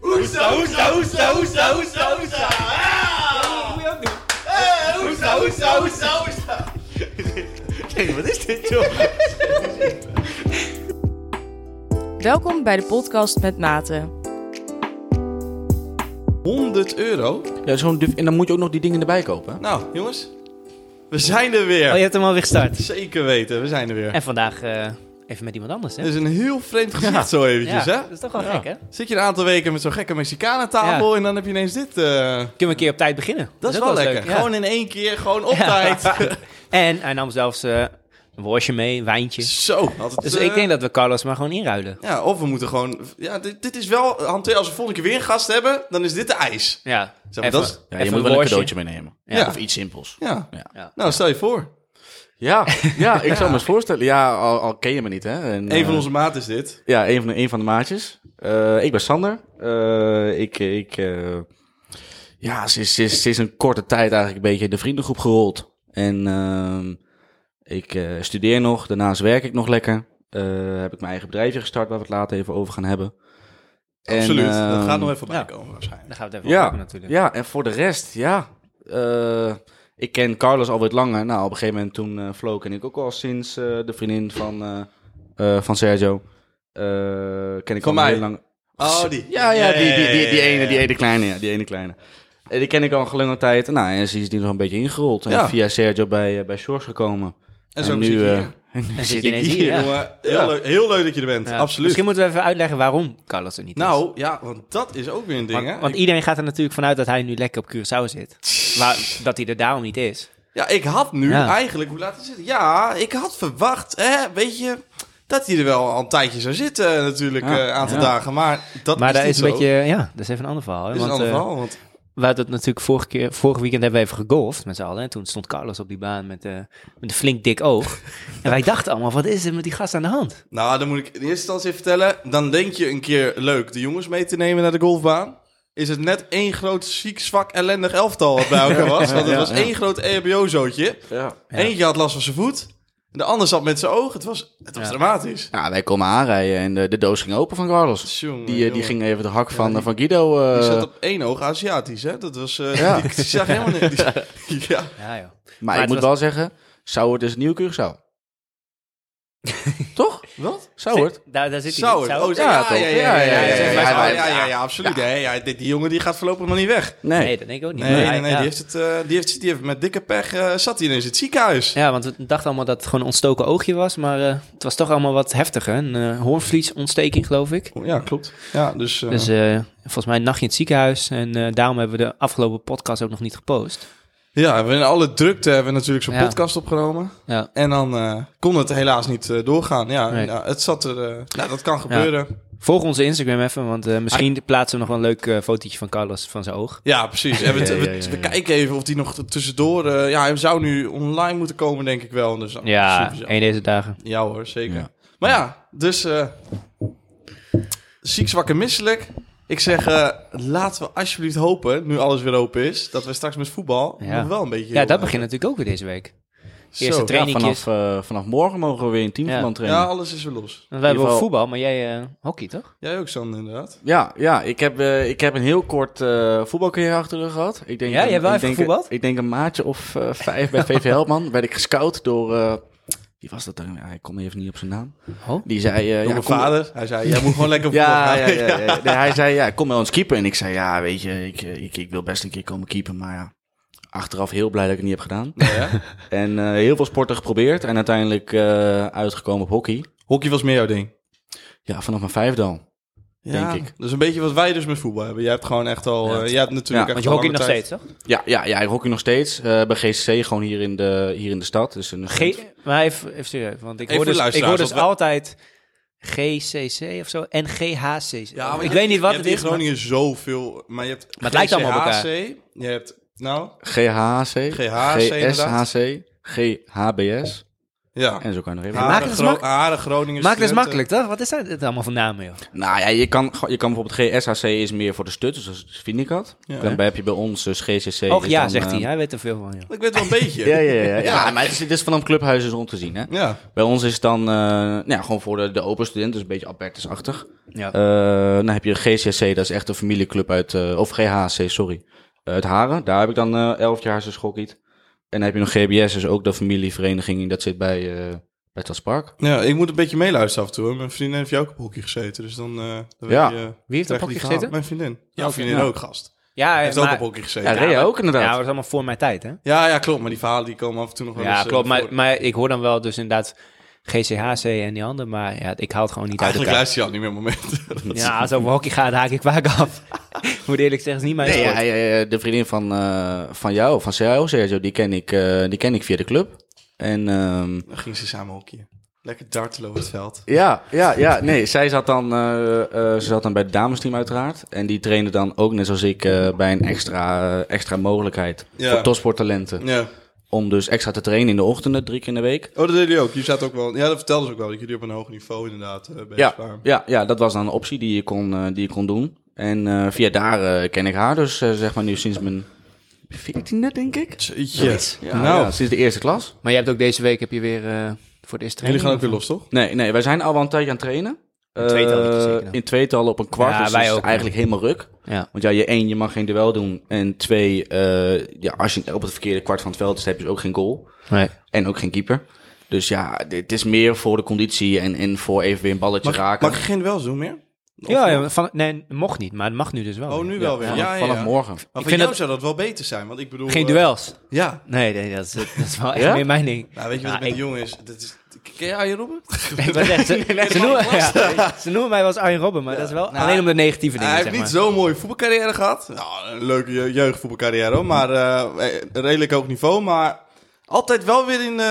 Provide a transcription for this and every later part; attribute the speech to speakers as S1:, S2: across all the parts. S1: hoesta, hoesta, hoesta, hoesta, hoesta, hoesta.
S2: Moet je dat doen?
S1: Eh, hoesta, hoesta, hoesta, hoesta.
S3: Hey, wat is dit, joh?
S4: Welkom bij de podcast met Maten.
S1: 100 euro?
S3: Ja, zo'n duf- en dan moet je ook nog die dingen erbij kopen.
S1: Nou, jongens. We zijn er weer.
S2: Oh, je hebt hem alweer gestart.
S1: Zeker weten, we zijn er weer.
S2: En vandaag eh, even met iemand anders, hè?
S1: Het is een heel vreemd gezicht zo eventjes,
S2: ja,
S1: hè?
S2: dat is toch wel
S3: Ja.
S2: gek, hè?
S1: Zit je een aantal weken met zo'n gekke Mexicanentafel en dan heb je ineens dit. eh,
S2: Kunnen we een keer op tijd beginnen.
S1: dat is
S2: ook
S1: wel
S2: eens
S1: lekker.
S2: leuk, ja.
S1: Gewoon in één keer, gewoon op
S2: Ja.
S1: tijd.
S2: En hij nam zelfs eh, een worstje mee, een wijntje.
S1: Zo. had het,
S2: Dus
S1: eh,
S2: ik denk dat we Carlos maar gewoon inruilen.
S1: Ja, of we moeten gewoon... Ja, dit, dit is wel... Hanteer, als we volgende keer weer een gast hebben, dan is dit de ijs.
S2: Ja,
S1: Zeg maar,
S2: Even-
S1: dat is-
S3: Ja, je
S2: even
S3: moet
S2: een
S3: wel een
S2: worstje.
S3: cadeautje meenemen.
S1: Ja.
S3: Of iets simpels.
S1: Ja.
S3: Ja.
S2: Ja.
S1: Nou, stel je voor.
S3: Ja, ja ik zou me eens voorstellen. Ja, al, al ken je me niet, hè. En,
S1: Een van
S3: eh,
S1: onze maat is dit.
S3: Ja, een van de, een van de maatjes. Eh, ik ben Sander. Eh, ik, ik eh, ja, sinds, sinds, sinds een korte tijd eigenlijk een beetje in de vriendengroep gerold. En ehm, ik eh, studeer nog, daarnaast werk ik nog lekker. Eh, heb ik mijn eigen bedrijfje gestart, waar we het later even over gaan hebben. En,
S1: Absoluut. dat
S3: ehm,
S1: gaat nog even bij
S2: ja.
S1: komen waarschijnlijk.
S2: Daar gaan we het even
S3: Ja,
S2: over natuurlijk.
S3: ja, en voor de rest, ja. Eh, ik ken Carlos alweer langer. Nou, op een gegeven moment toen eh Flo ken ik ook al sinds eh, de vriendin van, eh, eh, van Sergio. Eh, ken ik
S1: Van
S3: al
S1: mij?
S3: heel lang.
S1: Oh, die.
S3: Ja, ja, die, die, die, die
S1: ja, ja,
S3: ene,
S1: ja.
S3: die ene kleine, ja, die ene kleine. En die ken ik al een lange tijd. Nou, en ze is die nog een beetje ingerold. En
S1: Ja.
S3: via Sergio bij, eh bij Shores gekomen.
S1: En zo
S3: nu,
S1: nu...
S3: eh,
S1: hier.
S3: en nu
S2: zit
S3: zit
S2: je
S3: ik
S2: ineens
S3: hier.
S2: hier, ja.
S1: Jongen, heel,
S3: Ja.
S1: leuk, heel leuk dat je er bent.
S2: Ja.
S1: Absoluut.
S2: Misschien moeten we even uitleggen waarom Carlos er niet is.
S1: Nou, ja, want dat is ook weer een ding,
S2: Want,
S1: hè?
S2: want iedereen gaat er natuurlijk vanuit dat hij nu lekker op Curaçao zit. Maar dat hij er daarom niet is.
S1: Ja, ik had nu
S2: Ja.
S1: eigenlijk, hoe laat het zitten? Ja, ik had verwacht, hè, weet je, dat hij er wel al een tijdje zou zitten natuurlijk,
S3: Ja.
S1: eh, een aantal
S3: Ja.
S1: dagen. Maar dat
S2: maar
S1: is
S2: daar
S1: niet
S2: is een
S1: zo.
S2: beetje... Ja, dat is even een ander verhaal. Hè?
S1: Dat is een
S2: want,
S1: ander
S2: eh,
S1: verhaal, want
S2: We hadden het natuurlijk vorige keer, vorig weekend hebben we even gegolfd met z'n allen. En toen stond Carlos op die baan met, eh, met een flink dik oog. en wij dachten allemaal, wat is er met die gast aan de hand?
S1: Nou, dan moet ik in eerste instantie even vertellen. Dan denk je een keer leuk de jongens mee te nemen naar de golfbaan. Is het net één groot ziek, zwak, ellendig elftal wat bij elkaar was. Want het
S3: Ja,
S1: was
S3: ja.
S1: één groot EHBO-zootje.
S3: Ja.
S1: Eentje had last van zijn voet. De ander zat met zijn oog. Het was, het was
S2: Ja.
S1: dramatisch.
S3: Nou, wij komen aanrijden en de, de doos ging open van Carlos.
S1: Tjonge,
S3: Die, eh, die
S1: jonge.
S3: ging even de hak
S1: Ja,
S3: van,
S1: die-
S3: van Guido... eh,
S1: Die zat op één oog Aziatisch, hè? Dat was... eh,
S3: Ja.
S1: die, die zag helemaal niks. Die- ja.
S2: Ja joh.
S3: Maar,
S2: Maar
S3: ik
S2: het
S3: moet
S2: was-
S3: wel zeggen, Sauert is een nieuw Curaçao. Toch?
S1: Wat?
S3: Sauert?
S2: Daar, daar zit hij
S1: Zou
S2: niet.
S1: het?
S2: Zou
S1: Oh,
S2: het?
S1: ja,
S3: Ja,
S1: ja,
S3: toch?
S1: ja, ja, ja,
S3: Ja,
S1: ja,
S3: ja, ja,
S1: ja,
S3: ja,
S1: ja, ja, ja, absoluut. Nee, ja, die, die jongen die gaat voorlopig nog niet weg.
S3: Nee.
S2: Nee, dat denk ik ook niet.
S1: Nee, nee,
S2: Maar hij-
S1: nee,
S2: ja.
S1: Die, heeft het, eh, die, heeft, die heeft met dikke pech eh, zat hij ineens in het ziekenhuis.
S2: Ja, want we dachten allemaal dat het gewoon een ontstoken oogje was. Maar eh, het was toch allemaal wat heftiger. Een eh hoornvliesontsteking, geloof ik.
S1: Ja, klopt. Ja, dus, eh,
S2: Dus eh, volgens mij een nachtje in het ziekenhuis. En eh, daarom hebben we de afgelopen podcast ook nog niet gepost.
S1: ja, we in alle drukte hebben we natuurlijk zo'n
S2: Ja.
S1: podcast opgenomen.
S2: Ja.
S1: En dan eh, kon het helaas niet eh, doorgaan. Ja,
S2: Nee.
S1: ja, het zat er... eh, nou, dat kan gebeuren. Ja,
S2: Volg onze Instagram even, want eh, misschien plaatsen we nog wel een leuk eh, fotootje van Carlos van zijn oog.
S1: precies. En we,
S3: Ja, ja,
S1: we-
S3: ja, ja.
S1: we kijken even of die nog t- tussendoor... eh, ja, hij zou nu online moeten komen, denk ik wel. Dus, dan-
S2: Ja,
S1: super-
S2: één deze dagen.
S1: ja hoor, zeker.
S3: Ja.
S1: Maar ja, dus... eh, ziek, zwak en misselijk. Ik zeg, eh, laten we alsjeblieft hopen, nu alles weer open is... dat we straks met voetbal
S2: Ja.
S1: nog wel een beetje... eh,
S2: Ja, dat begint natuurlijk ook weer deze week.
S1: Zo.
S2: eerste
S3: Ja,
S2: trainingjes.
S3: vanaf, eh, vanaf morgen mogen we weer in teamverband trainen.
S1: Ja,
S3: Ja.
S1: alles is weer los.
S2: Want wij
S3: In ieder
S2: hebben
S3: geval-
S2: ook voetbal, maar jij eh, hockey toch?
S1: Jij ook, Sander, inderdaad.
S3: Ja, ik, heb, eh, ik heb een heel kort eh voetbalcarrière achter de rug gehad. Ik denk,
S2: Ja, jij hebt wel
S3: ik
S2: even
S3: denk-
S2: gevoetbald?
S3: Ik denk een maatje of eh, vijf bij VV Helpman. werd ik gescout door... eh, wie was dat dan? Ja, ik kom even niet op zijn naam.
S2: Oh?
S3: Die zei... eh,
S1: Door
S3: ja,
S1: mijn
S3: kom-
S1: vader. Hij zei, jij moet gewoon lekker voetbal
S3: Ja,
S1: gaan.
S3: ja, ja, ja. Nee, hij zei, ja, kom wel eens keeper. En ik zei, ja, weet je, ik, eh, ik, ik wil best een keer komen keeper. Maar ja, achteraf heel blij dat ik het niet heb gedaan.
S1: Ja, ja.
S3: En eh, heel veel sporten geprobeerd. En uiteindelijk eh, uitgekomen op hockey.
S1: Hockey was meer jouw ding.
S3: Ja, vanaf mijn vijfde al. Denk ik.
S1: Dat is een beetje wat wij dus met voetbal hebben. Jij hebt gewoon echt al...
S3: Ja.
S1: eh, jij hebt natuurlijk
S3: Ja,
S1: echt
S2: Want je
S1: al
S2: hockey nog
S1: lange tijd-
S2: steeds, toch?
S3: Ja, ja, ja ik hockey nog steeds. eh bij GCC, gewoon hier in de, hier in de stad. Dus een,
S2: G maar even, even serieus, want ik
S1: Even
S2: hoor dus,
S1: voor de
S2: ik hoor dus
S1: luisteraars,
S2: altijd GCC of zo en GHCC.
S1: Ja, maar
S2: ik
S1: je-
S2: weet niet wat
S1: je
S2: het
S1: hebt
S2: is,
S1: in
S2: maar
S1: Groningen zoveel... Maar je hebt
S2: Maar het lijkt allemaal op elkaar.
S1: GCHC, Je hebt... Nou...
S3: GHC,
S1: GHC, inderdaad.
S3: GSHC, GHBS.
S1: Ja.
S3: En zo kan je nog even.
S2: Ja. Maken
S1: Haren,
S2: is
S1: Gro
S2: mak-
S1: Haren, Groningen. eh,
S2: Maak dat eens
S1: studenten.
S2: makkelijk, toch? Wat is dat allemaal voor namen, joh?
S3: Nou ja, je kan, je kan bijvoorbeeld GSHC is meer voor de stut, dus dat is- vind ik dat.
S1: Ja.
S3: dan heb je bij ons dus GCC.
S2: Och
S3: is
S2: ja,
S3: dan,
S2: zegt
S3: eh,
S2: hij. Hij weet er veel van, joh.
S1: Ik weet wel een beetje.
S3: Ja, ja, ja, ja. ja, maar het is, het is vanaf clubhuizen rond te zien, hè?
S1: Ja.
S3: Bij ons is het dan eh, nou ja, gewoon voor de, de open student, dus een beetje Albertus-achtig.
S2: Ja.
S3: Eh, dan heb je GCC, dat is echt een familieclub uit, eh, of GHC, sorry, Eh, uit Haren. Daar heb ik dan eh 11 jaar zijn schokkiet. En dan heb je nog GBS, dus ook de familievereniging, dat zit bij, eh bij Stadspark.
S1: Ja, ik moet een beetje meeluisteren af en toe. hè. Mijn vriendin heeft jou ook op hockey gezeten, dus dan... eh, dan
S3: Ja.
S1: weet je, eh,
S2: Wie heeft op
S1: krijg je
S2: hockey
S1: die verhalen.
S2: gezeten?
S1: Mijn vriendin. Jouw
S2: oké.
S1: vriendin
S3: Ja.
S1: ook, gast.
S2: Ja, Eh,
S1: Hij heeft
S2: maar-
S1: ook op hockey
S3: Ja,
S1: gezeten.
S3: Rea
S2: maar-
S3: ook inderdaad.
S2: Ja, dat was allemaal voor mijn tijd, hè?
S1: Ja, ja, klopt. Maar die verhalen die komen af en toe nog wel
S2: Ja,
S1: eens, eh,
S2: klopt.
S1: voor.
S2: Maar, maar ik hoor dan wel dus inderdaad GCHC en die andere, maar ja, ik haal het gewoon niet uit
S1: Eigenlijk
S2: elkaar.
S1: luister je al niet meer momenten.
S2: Ja, als het over hockey gaat, haak ik vaak af. Ik Moet eerlijk zeggen, is niet mijn
S3: Nee,
S2: sport.
S3: ja, ja, ja, de vriendin van, eh, van jou, van jou, Sergio, die ken ik, eh, die ken ik via de club. En ehm,
S1: Dan gingen ze samen hockeyen. Lekker dartelen over het veld.
S3: Ja, ja, ja. Nee, zij zat dan, eh, eh, ze zat dan bij het damesteam uiteraard. En die trainde dan ook net zoals ik eh, bij een extra, eh, extra mogelijkheid
S1: Ja.
S3: voor topsporttalenten.
S1: Ja.
S3: Om dus extra te trainen in de ochtenden, drie keer in de week.
S1: Oh, dat deed hij ook. Je zat ook wel... Ja, dat vertelden ze ook wel. Dat jullie op een hoog niveau inderdaad eh bezig
S3: Ja,
S1: waren.
S3: ja, ja, dat was dan een optie die je kon, eh, die je kon doen. En eh, via daar eh, ken ik haar dus, eh, zeg maar nu sinds mijn veertiende, denk ik.
S1: Yes.
S3: Ja,
S1: nou,
S3: ja, sinds de eerste klas.
S2: Maar je hebt ook deze week heb je weer eh, voor de eerste
S1: jullie
S2: training.
S1: gaan ook weer los, toch?
S3: Nee, nee, wij zijn al wel een tijdje aan het trainen.
S2: In tweetalletjes
S3: Eh,
S2: zeker dan.
S3: in tweetallen op een kwart,
S2: Ja,
S3: dus
S2: wij
S3: dat is
S2: ook.
S3: eigenlijk helemaal ruk.
S2: Ja.
S3: Want ja, je één, je mag geen duel doen. En twee, eh, ja, als je op het verkeerde kwart van het veld is, heb je dus ook geen goal.
S2: Nee.
S3: En ook geen keeper. Dus ja, dit is meer voor de conditie en, en voor even weer een balletje
S1: Mag,
S3: raken.
S1: mag ik geen wel doen meer? Of
S2: Ja,
S1: nog?
S2: ja, van, nee, mocht niet, maar het mag nu dus wel.
S1: Oh,
S2: weer.
S1: nu wel weer. Ja,
S3: Vanaf,
S1: ja,
S3: vanaf
S1: ja.
S3: morgen.
S1: Maar
S2: Ik
S1: voor
S2: vind
S1: jou
S2: dat-
S1: zou dat wel beter zijn, want ik bedoel...
S2: Geen
S1: eh,
S2: duels.
S1: ja.
S2: Nee, nee, dat is, dat is wel echt
S3: Ja?
S2: meer mijn ding.
S1: Nou, weet je wat
S2: Nou,
S1: het met
S2: ik-
S1: die jongen is? Dat is... Ken je Arjen Robben?
S2: Ik ben echt- ze, ze noemen, ja, ze noemen mij wel eens Arjen Robben, maar dat is wel
S1: Nou,
S2: alleen om de negatieve dingen,
S1: Hij heeft
S2: zeg
S1: niet
S2: maar.
S1: zo'n mooie voetbalcarrière gehad. Nou, een leuke je- jeugdvoetbalcarrière, hoor, maar eh, eh, redelijk hoog niveau. Maar altijd wel weer in, eh,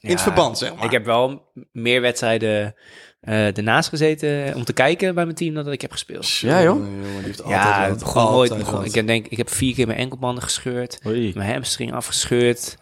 S1: in het
S2: Ja,
S1: verband, zeg maar.
S2: Ik heb wel m- meer wedstrijden eh ernaast gezeten om te kijken bij mijn team dan dat ik heb gespeeld.
S3: Ja, joh.
S1: Jongen, jongen, die heeft altijd
S2: Ja,
S1: wat,
S2: gewoon
S1: altijd
S2: nooit. me gewoon-
S1: wat.
S2: Ik heb, denk, ik heb vier keer mijn enkelbanden gescheurd,
S3: Oei.
S2: mijn hamstring afgescheurd,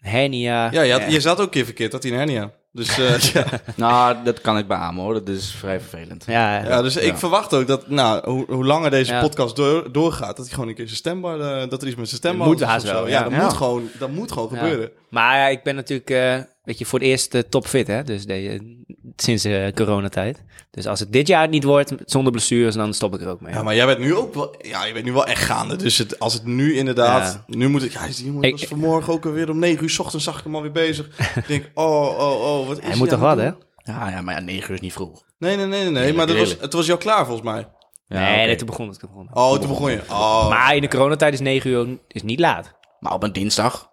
S2: een hernia.
S1: Ja, je, had-
S2: Eh,
S1: je zat ook een keer verkeerd, had hij een hernia. Dus, eh, ja.
S3: Nou, dat kan ik beamen hoor. Dat is vrij vervelend.
S2: ja,
S1: Ja, dus ik verwacht ook dat, nou, hoe, hoe langer deze
S2: Ja.
S1: podcast door, doorgaat, dat hij gewoon een keer zijn stembar, eh, dat er iets met zijn stembar
S2: Moet
S1: is of
S2: haast
S1: zo.
S2: wel,
S1: Ja,
S2: ja.
S1: dat,
S3: Ja.
S1: Moet gewoon, dat moet gewoon
S2: ja.
S1: gebeuren.
S2: Maar ja, ik ben natuurlijk, eh, weet je, voor het eerst eh, topfit, hè? Dus de, sinds eh, coronatijd. Dus als het dit jaar niet wordt zonder blessures, dan stop ik er ook mee.
S1: Ja, maar jij bent nu ook wel, ja, je bent nu wel echt gaande. Dus het, als het nu inderdaad, nu moet ik, ja, die jongen
S2: Ik-
S1: was vanmorgen ook weer om 9 uur 's ochtends zag ik hem alweer bezig. ik denk, oh, oh, oh, wat is
S2: Hij moet
S1: aan
S2: toch wat,
S1: het
S2: hè?
S1: doen?
S3: Ja, ja maar ja, negen uur is niet vroeg.
S1: Nee, nee, nee, nee, nee, maar dat was,
S3: Heerlijk.
S1: het was jou klaar volgens mij.
S3: Ja,
S2: nee,
S3: oké.
S2: nee, toen begon het. Toen begon het.
S1: Oh, toen begon je. Oh,
S2: Maar in de coronatijd is 9 uur is niet laat.
S3: Maar op een dinsdag.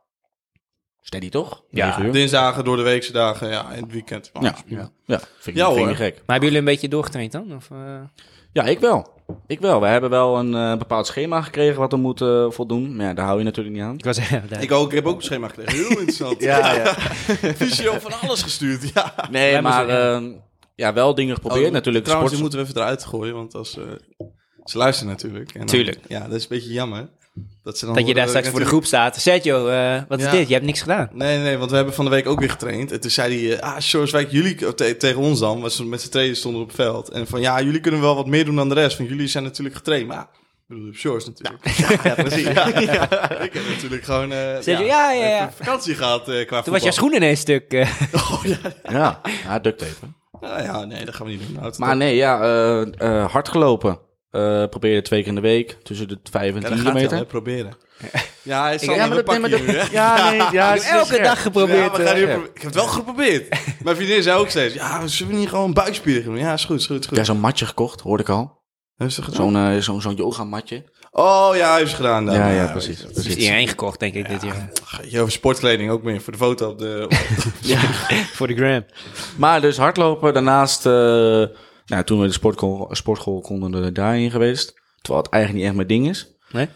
S3: Steady toch?
S2: Ja,
S3: Negen uur.
S1: Oh, dinsdagen, door de weekse dagen, ja, in het weekend. Oh,
S3: Ja, ja. ja. Vind, ik,
S1: Ja,
S3: vind ik
S1: hoor.
S3: niet gek.
S2: Maar hebben jullie een beetje doorgetraind dan? Of, eh?
S3: Ja, ik wel. Ik wel. We hebben wel een eh, bepaald schema gekregen wat we moeten eh, voldoen. Maar ja, daar hou je natuurlijk niet aan.
S2: Ik was daar.
S1: Ik ook, ik heb ook een schema gekregen. Heel interessant.
S3: Ja, ja.
S1: Visio van alles gestuurd, ja.
S3: Nee,
S2: Wij
S3: maar
S2: moeten-
S3: ehm, ja, wel dingen geprobeerd.
S1: Oh,
S3: natuurlijk
S1: Trouwens,
S3: sports...
S1: die moeten we even eruit gooien, want als eh, ze luisteren natuurlijk. En dan-
S2: Tuurlijk.
S1: ja, dat is een beetje jammer. Dat, ze dan eh,
S2: Dat je daar straks voor de groep staat. Sergio, eh, wat is
S1: Ja.
S2: dit? Je hebt niks gedaan.
S1: Nee, nee, want we hebben van de week ook weer getraind. En toen zei hij, eh, ah, Sjorswijk, jullie, of te- tegen ons dan, want ze met z'n tweeën stonden op het veld. En van, ja, jullie kunnen wel wat meer doen dan de rest, want jullie zijn natuurlijk getraind. Maar, ja, ik bedoel, op Shores natuurlijk. Ja, precies. Ja, ja. Ik heb natuurlijk gewoon eh,
S2: Sergio, ja, ja, ja.
S1: even vakantie gehad eh, qua Oh,
S2: Toen was jouw schoen ineens stuk. eh.
S3: Ja, ja duct tape.
S1: Nou ja, nee, dat gaan we niet doen. Nou,
S3: Maar
S1: dat-
S3: nee, ja, eh, eh, hard gelopen. Eh probeer je twee keer in de week, tussen de vijf en
S1: ja,
S3: tien
S1: dat gaat hij al,
S3: kilometer.
S1: hè, proberen. Ja, hij is
S2: ja,
S1: al
S2: maar
S1: een pakje nu, hè. Dus
S3: ja, nee, ja,
S2: ik heb elke dag
S1: Ja,
S2: geprobeerd.
S1: we gaan
S2: eh,
S1: nu pro- ik heb het wel geprobeerd. Mijn vriendin zei ook steeds, ja, zullen we niet gewoon buikspieren gaan doen? Ja, is goed, is goed, is goed.
S3: Ja, zo'n matje gekocht, hoorde ik al.
S1: Heeft ze gedaan?
S3: Zo'n eh, zo'n zo'n yoga-matje.
S1: Oh ja, heeft ze gedaan dan.
S3: Ja, ja, precies.
S2: Er is
S3: precies.
S2: iedereen gekocht, denk ik, dit jaar.
S1: Ach, Je over sportkleding ook meer voor de foto op de...
S2: Voor de gram.
S3: Maar dus hardlopen, daarnaast, eh, nou, toen we de sportschool, sportschool konden, we daarin geweest. Terwijl het eigenlijk niet echt mijn ding is.
S2: Nee?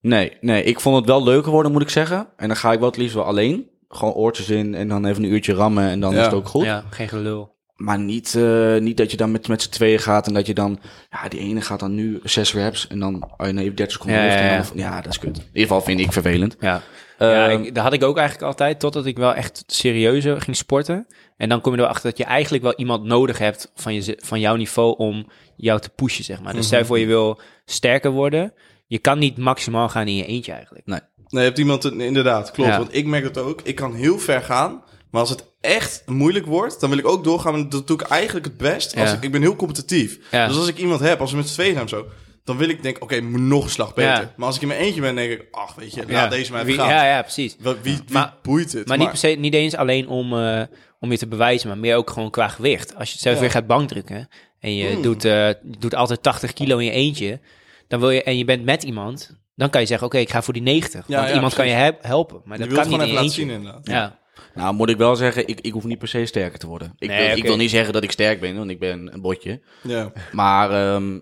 S3: Nee, nee, ik vond het wel leuker worden, moet ik zeggen. En dan ga ik wel het liefst wel alleen. Gewoon oortjes in en dan even een uurtje rammen en dan
S1: Ja.
S3: is het ook goed.
S2: Ja, geen gelul.
S3: Maar niet, eh, niet dat je dan met, met z'n tweeën gaat en dat je dan... Ja, die ene gaat dan nu zes reps en dan... Oh nee, 30 seconden
S2: Ja,
S3: lucht en
S2: ja,
S3: dan- ja, dat is kut. In ieder geval vind ik vervelend.
S2: Ja, ja
S3: Ehm,
S2: ik- dat had ik ook eigenlijk altijd, totdat ik wel echt serieuzer ging sporten. En dan kom je erachter dat je eigenlijk wel iemand nodig hebt van, je, van jouw niveau om jou te pushen, zeg maar. Dus stel je voor je wil sterker worden, je kan niet maximaal gaan in je eentje eigenlijk.
S1: Nee, je hebt iemand... nee, Inderdaad, klopt.
S2: Ja.
S1: Want ik merk dat ook. Ik kan heel ver gaan. Maar als het echt moeilijk wordt, dan wil ik ook doorgaan. Maar dat doe ik eigenlijk het best. Als
S2: Ja.
S1: ik, ik ben heel competitief.
S2: Ja.
S1: Dus als ik iemand heb, als we met z'n tweeën gaan of zo... dan wil ik denken, oké, nog een slag beter.
S2: Ja.
S1: Maar als ik in mijn eentje ben, denk ik... ach, weet je, laat deze mij
S2: Wie-
S1: even gaan.
S2: Ja, ja, precies.
S1: Wat- Wie, wie
S2: Maar-
S1: boeit het?
S2: Maar niet, per se, niet eens alleen om, eh, om je te bewijzen, maar meer ook gewoon qua gewicht. Als je zelf
S1: Ja.
S2: weer gaat bankdrukken en je
S1: Hmm.
S2: doet, eh, je doet altijd 80 kilo in je eentje, dan wil je, en je bent met iemand, dan kan je zeggen, oké, ik ga voor die 90.
S1: Ja,
S2: want
S1: ja,
S2: iemand
S1: precies.
S2: kan je he- helpen, maar
S1: je
S2: dat
S1: wilt
S2: kan
S1: gewoon
S2: niet
S1: even
S2: in je
S1: laten
S2: eentje.
S1: zien inderdaad.
S2: Ja.
S3: Nou, moet ik wel zeggen, ik, ik hoef niet per se sterker te worden. Ik,
S2: Nee,
S3: wil, ik
S2: oké.
S3: wil niet zeggen dat ik sterk ben, want ik ben een botje.
S1: Ja.
S3: Maar ehm,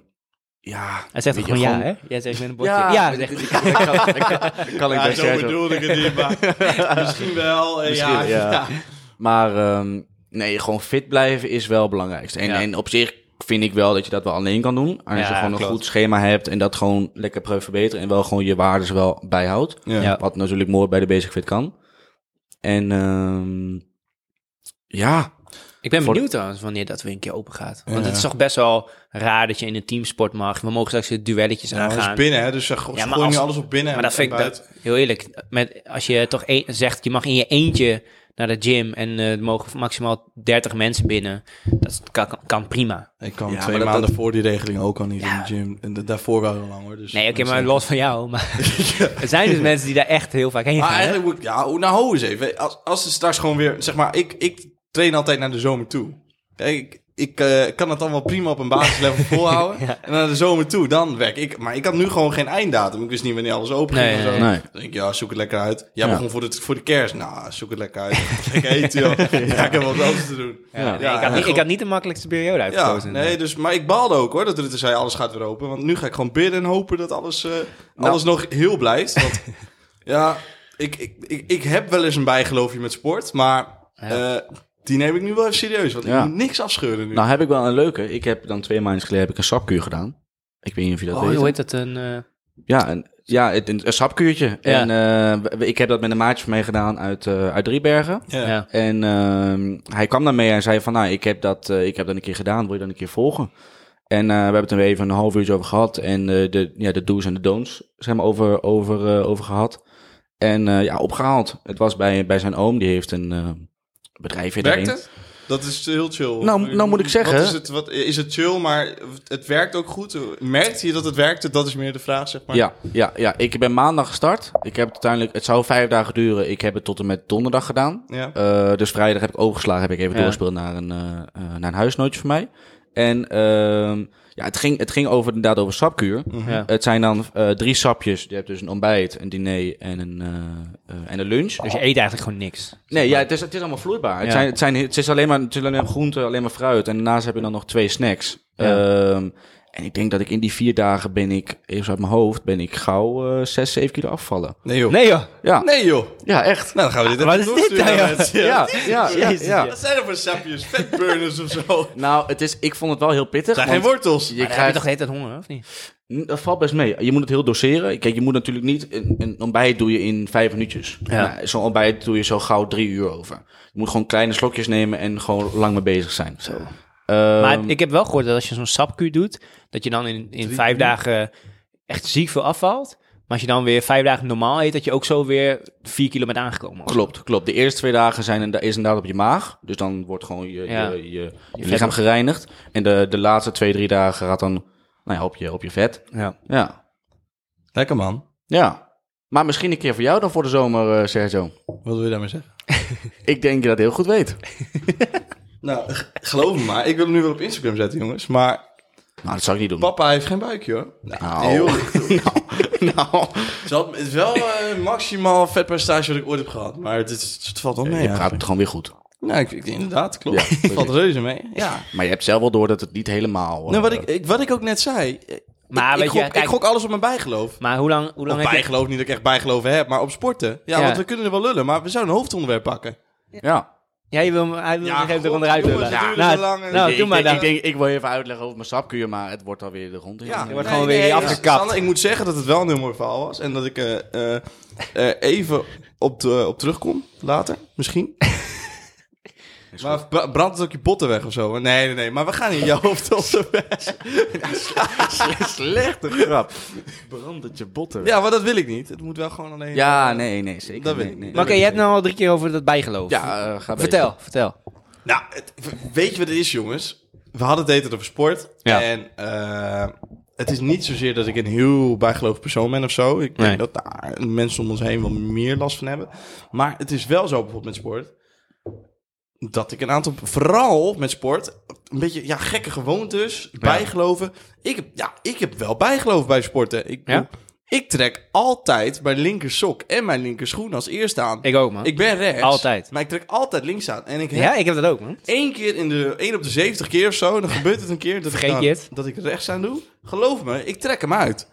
S3: ja...
S2: Hij zegt
S3: weet
S2: toch
S3: je,
S2: gewoon ja, hè? Jij zegt met een bordje.
S3: Ja,
S2: Ja,
S3: ik-
S2: zegt hij.
S3: ik- ik kan- ik kan- ik kan ik
S1: Ja,
S3: best
S1: zo
S3: zeggen.
S1: bedoelde ik het niet, maar misschien wel. eh, ja,
S3: Misschien, ja.
S1: ja.
S3: Maar ehm, nee, gewoon fit blijven is wel het belangrijkste. En,
S2: Ja.
S3: en op zich vind ik wel dat je dat wel alleen kan doen. Als
S2: Ja,
S3: je gewoon een
S2: klopt.
S3: goed schema hebt en dat gewoon lekker probeert verbeteren. En wel gewoon je waardes wel bijhoudt.
S2: Ja.
S3: Wat natuurlijk mooi bij de Basic Fit kan. En ehm, ja,
S2: Ik ben
S3: Voor-
S2: benieuwd trouwens wanneer dat weer een keer open gaat. Want
S1: Ja.
S2: het is toch best wel raar dat je in een teamsport mag. We mogen straks de duelletjes
S1: Nou, het is
S2: aangaan.
S1: binnen, hè, dus ze go-
S2: Ja,
S1: ze
S2: maar
S1: gooien nu
S2: als-
S1: alles op binnen.
S2: maar dat
S1: en
S2: vind ik
S1: buiten.
S2: dat, heel eerlijk. Met, als je toch een- zegt, je mag in je eentje naar de gym en eh, er mogen maximaal 30 mensen binnen. Dat kan, kan prima.
S1: Ik kwam
S3: Ja,
S1: twee
S3: maar dat-
S1: maanden voor die regeling ook al niet in de gym. En da- daarvoor wel heel lang hoor. Dus
S2: Nee, oké,
S1: mensen-
S2: maar los van jou. Maar er zijn dus mensen die daar echt heel vaak heen gaan.
S1: Maar
S2: hè?
S1: eigenlijk moet ik... Ja, hoe- nou hou eens even. Als, als het straks gewoon weer... Zeg maar, ik, ik train altijd naar de zomer toe. Kijk, ik, ik eh, kan het allemaal prima op een basislevel volhouden. En naar de zomer toe, dan werk ik. Maar ik had nu gewoon geen einddatum. Ik wist niet wanneer alles open ging
S2: Nee,
S1: en
S2: nee,
S1: zo.
S3: nee.
S1: Dan denk ik, ja, zoek het lekker uit. Jij
S3: Ja.
S1: begon voor de, voor de kerst. Nou, zoek het lekker uit. Ik eet, joh. Ja, ik heb wat anders te doen.
S2: Ja, nee,
S1: ja,
S2: ik, had niet,
S1: gewoon-
S2: ik had niet de makkelijkste periode
S1: Ja,
S2: uitgekozen.
S1: nee, dus, maar ik baalde ook hoor dat Rutte zei alles gaat weer open. Want nu ga ik gewoon bidden en hopen dat alles,
S3: Nou.
S1: eh, alles nog heel blijft. Want ja, ik, ik, ik, ik heb wel eens een bijgeloofje met sport, maar
S2: Ja.
S1: eh, die neem ik nu wel even serieus. Want
S3: Ja.
S1: ik moet niks afscheuren nu.
S3: nou heb ik wel een leuke. Ik heb dan twee maanden geleden heb ik een sapkuur gedaan. Ik weet niet of je dat
S2: oh,
S3: weet.
S2: hoe heet dat? Een, eh,
S3: Ja, een, ja het- een, een sapkuurtje.
S2: Ja.
S3: En eh, we- we- ik heb dat met een maatje van mij gedaan uit, eh uit Driebergen.
S1: ja.
S2: ja.
S3: En ehm, hij kwam daarmee en zei van, nou, ik heb, dat, eh, ik heb dat een keer gedaan, wil je dat een keer volgen? En eh, we hebben het er even een half uurtje over gehad en eh, de, ja, de do's en de don'ts zijn we over, over, eh, over gehad. En eh, ja, opgehaald. Het was bij, bij zijn oom, die heeft een eh, bedrijf in
S1: Werkt
S3: daarin.
S1: het? Dat is heel chill.
S3: Nou, nou moet ik zeggen-
S1: Wat is, het, wat, is het chill, maar het werkt ook goed? Merkt je dat het werkte? Dat is meer de vraag, zeg maar.
S3: Ja, ja, ja, ik ben maandag gestart. Ik heb het uiteindelijk, het zou vijf dagen duren. Ik heb het tot en met donderdag gedaan.
S1: Ja.
S3: Eh, dus vrijdag heb ik overgeslagen, heb ik even
S2: Ja.
S3: doorgespeeld naar een, eh, eh, naar een huisnootje van mij. En ehm, ja, het, ging, het ging over, inderdaad over sapkuur.
S2: ja.
S3: Het zijn dan eh, drie sapjes. Je hebt dus een ontbijt, een diner en een, eh, eh, en een lunch.
S2: Dus je eet eigenlijk gewoon niks.
S3: Nee, ja, het, is, het is allemaal vloeibaar. Het,
S2: Ja.
S3: zijn, het, zijn, het is alleen maar, het is alleen maar groente, alleen maar fruit. En daarnaast heb je dan nog twee snacks.
S2: Ja.
S3: Ehm, en ik denk dat ik in die vier dagen ben ik, even uit mijn hoofd, ben ik gauw eh, zes, zeven kilo afvallen.
S1: Nee joh.
S2: Nee joh.
S3: Ja,
S1: Nee, joh. Nou,
S3: ja echt.
S1: dan gaan we dit
S2: Wat
S1: even
S2: is dit
S1: doorsturen
S2: dan,
S1: naar
S2: joh?
S1: mensen.
S3: Ja, ja, ja,
S2: Jezus,
S3: ja.
S2: ja.
S1: Wat zijn er voor sapjes? Vetburners of zo?
S3: Nou, het is, ik vond het wel heel pittig.
S1: Zijn geen
S3: want
S1: wortels.
S3: je
S2: Je krijgt...
S3: krijgt-
S2: toch de hele tijd honger, of niet?
S3: N- Dat valt best mee. Je moet het heel doseren. Kijk, je moet natuurlijk niet... Een, een ontbijt doe je in vijf minuutjes.
S2: Ja.
S3: Nou, Zo'n ontbijt doe je zo gauw drie uur over. Je moet gewoon kleine slokjes nemen en gewoon lang mee bezig zijn. Ehm, Zo.
S2: maar ik heb wel gehoord dat als je zo'n sapkuur doet, dat je dan in, in vijf dagen echt ziek veel afvalt. Maar als je dan weer vijf dagen normaal eet, dat je ook zo weer vier kilo bent aangekomen.
S3: Klopt, klopt. De eerste twee dagen zijn in- is inderdaad op je maag. Dus dan wordt gewoon je,
S2: Ja.
S3: je, je, je
S2: vet
S3: lichaam
S2: wordt-
S3: gereinigd. En de, de laatste twee, drie dagen gaat dan nou ja, op, je, op je vet.
S2: Ja.
S3: Ja.
S1: Lekker man.
S3: ja. Maar misschien een keer voor jou dan voor de zomer, eh, Sergio.
S1: Wat wil je daarmee zeggen?
S3: Ik denk dat je dat heel goed weet.
S1: Nou, g- geloof me maar. Ik wil hem nu wel op Instagram zetten, jongens. Maar
S3: Nou, dat zou ik niet doen.
S1: papa heeft geen buikje, hoor.
S3: Nou.
S1: licht.
S3: nou,
S1: Ze had- Het is wel eh, maximaal vetpercentage wat ik ooit heb gehad. Maar het, is, het valt wel mee,
S3: je praat het
S1: eigenlijk.
S3: gewoon weer goed.
S1: Nou, ik, ik- inderdaad, klopt.
S3: Ja,
S1: het valt reuze mee. Ja.
S3: Maar je hebt zelf wel door dat het niet helemaal... eh,
S1: Nou, wat ik, ik- wat ik ook net zei. ik-
S2: Maar
S1: ik,
S2: weet je,
S1: gok,
S2: kijk-
S1: ik gok alles op mijn bijgeloof.
S2: Maar hoe lang, hoe
S1: Of
S2: lang heb je...
S1: bijgeloof, niet dat ik echt bijgeloven heb, maar op sporten. Ja,
S2: Ja.
S1: want we kunnen er wel lullen, maar we zouden een hoofdonderwerp pakken.
S3: Ja.
S2: Ja, je wil, hem- hij wil
S1: Ja,
S2: zich even
S1: god,
S2: eronder uit
S1: jongens,
S2: lullen.
S1: het duurde
S2: nou,
S1: zo lang en-
S2: nou,
S3: ik,
S2: doe maar
S3: ik,
S2: dan.
S3: ik, denk, ik wil even uitleggen over mijn sapkuur, maar het wordt alweer de grond in.
S1: Ja,
S2: wordt gewoon weer
S1: ja,
S2: afgekapt.
S1: Sander, ik moet zeggen dat het wel een heel mooi verhaal was. En dat ik eh, eh, eh, even op, de- op terugkom later, misschien. maar bra- brandt het ook je botten weg of zo? Nee, nee, nee. Maar we gaan in jouw hoofd op de weg.
S3: Slechte grap. Brand het je botten. Ja,
S1: Ja, maar dat wil ik niet. Het moet wel gewoon alleen...
S3: nee, nee, zeker.
S1: Dat
S3: nee,
S1: weet ik
S3: nee.
S1: niet.
S2: Maar oké, je hebt nou al drie keer over dat bijgeloof.
S3: Ja, eh, ga
S2: vertel, vertel.
S1: Nou, het- weet je wat het is, jongens? We hadden het eten over sport.
S2: Ja.
S1: En eh, het is niet zozeer dat ik een heel bijgelovig persoon ben of zo. Ik denk
S2: Nee.
S1: dat daar mensen om ons heen wel meer last van hebben. Maar het is wel zo bijvoorbeeld met sport. Dat ik een aantal, vooral met sport, een beetje ja, gekke gewoontes, bijgeloven. Ik heb, ja, ik heb wel bijgeloof bij sporten. Ik,
S2: Ja?
S1: ik trek altijd mijn linker sok en mijn linker schoen als eerste aan.
S2: Ik ook, man.
S1: Ik ben rechts.
S2: Altijd.
S1: Maar ik trek altijd links aan. En ik heb
S2: ja, ik heb dat ook, man.
S1: Eén keer in de 1 op de 70 keer of zo, en dan gebeurt het een keer dat,
S2: Vergeet
S1: ik, dan-
S2: je het?
S1: dat ik rechts aan doe. Geloof me, ik trek hem uit.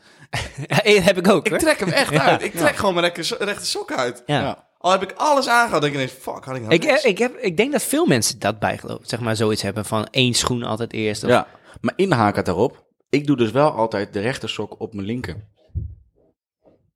S2: Eh, heb ik ook,
S1: Ik
S2: hoor.
S1: trek hem echt uit. Ik trek gewoon mijn rechter, so- rechter sok uit.
S2: Ja.
S3: Ja.
S1: Al heb ik alles aangehad, denk ik ineens, fuck, had ik nou
S2: Ik, eh,
S1: rechts?
S2: ik, heb, ik denk dat veel mensen dat bijgeloof, zeg maar, zoiets hebben van één schoen altijd eerst. Of,
S3: Ja, maar inhaken daarop. Ik doe dus wel altijd de rechter sok op mijn linker.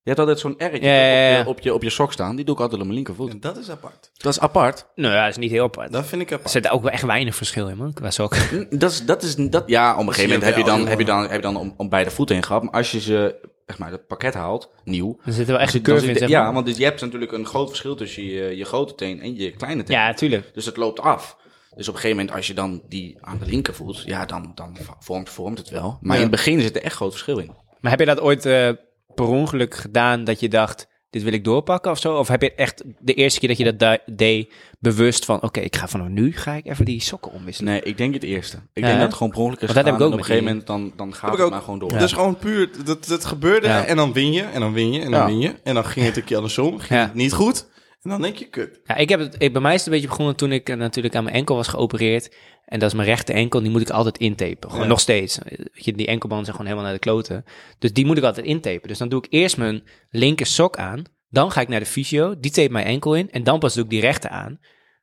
S3: Je hebt altijd zo'n R'tje
S2: Ja, ja, ja.
S3: Op, je, op, je, op je sok staan. Die doe ik altijd op mijn linkervoet.
S1: En dat is apart.
S3: Dat is apart.
S2: Nou ja, dat is niet heel apart.
S1: Dat vind ik
S2: Er
S1: apart.
S2: zit ook wel echt weinig verschil in, man, qua sok.
S3: Hm, Dat is, dat is, dat, ja, op een gegeven moment heb je
S1: wel,
S3: dan, heb je
S1: jongen.
S3: dan, heb je dan om, om beide voeten in gehad. Maar als je ze, zeg maar, dat pakket haalt, nieuw.
S2: Er zit wel echt een
S3: dan eh,
S2: curve
S3: zit-
S2: in, zeg
S3: ja,
S2: maar.
S3: want dus je hebt natuurlijk een groot verschil tussen je, je grote teen en je kleine teen.
S2: Ja, tuurlijk.
S3: Dus het loopt af. Dus op een gegeven moment, als je dan die aan de linker voelt, ja, dan, dan vormt, vormt het wel. Maar in het begin zit er echt groot verschil in.
S2: Maar heb je dat ooit eh, per ongeluk gedaan dat je dacht, dit wil ik doorpakken of zo? Of heb je echt de eerste keer dat je dat da- deed bewust van, oké, ik ga vanaf nu ga ik even die sokken omwisselen?
S3: Nee, ik denk het eerste. Ik
S2: hè?
S3: denk dat het gewoon per ongeluk is
S2: Want dat heb
S3: gedaan
S2: ik ook
S3: en op een
S2: met
S3: gegeven moment, dan, dan gaat
S1: Heb
S3: het
S1: ik ook.
S3: maar gewoon door.
S1: Dus gewoon puur, dat, dat gebeurde
S2: Ja.
S1: en dan win je, en dan win je, en dan
S3: Ja.
S1: win je. En dan ging het een keer andersom, ging
S2: Ja.
S1: het niet goed. En dan denk je, kut.
S2: Ja, ik heb het, ik, bij mij is het een beetje begonnen toen ik eh, natuurlijk aan mijn enkel was geopereerd. En dat is mijn rechte enkel, die moet ik altijd intapen. Gewoon
S1: Ja.
S2: nog steeds. Eh, Weet je, die enkelbanden zijn gewoon helemaal naar de kloten. Dus die moet ik altijd intapen. Dus dan doe ik eerst mijn linker sok aan. Dan ga ik naar de fysio, die tape mijn enkel in. En dan pas doe ik die rechter aan.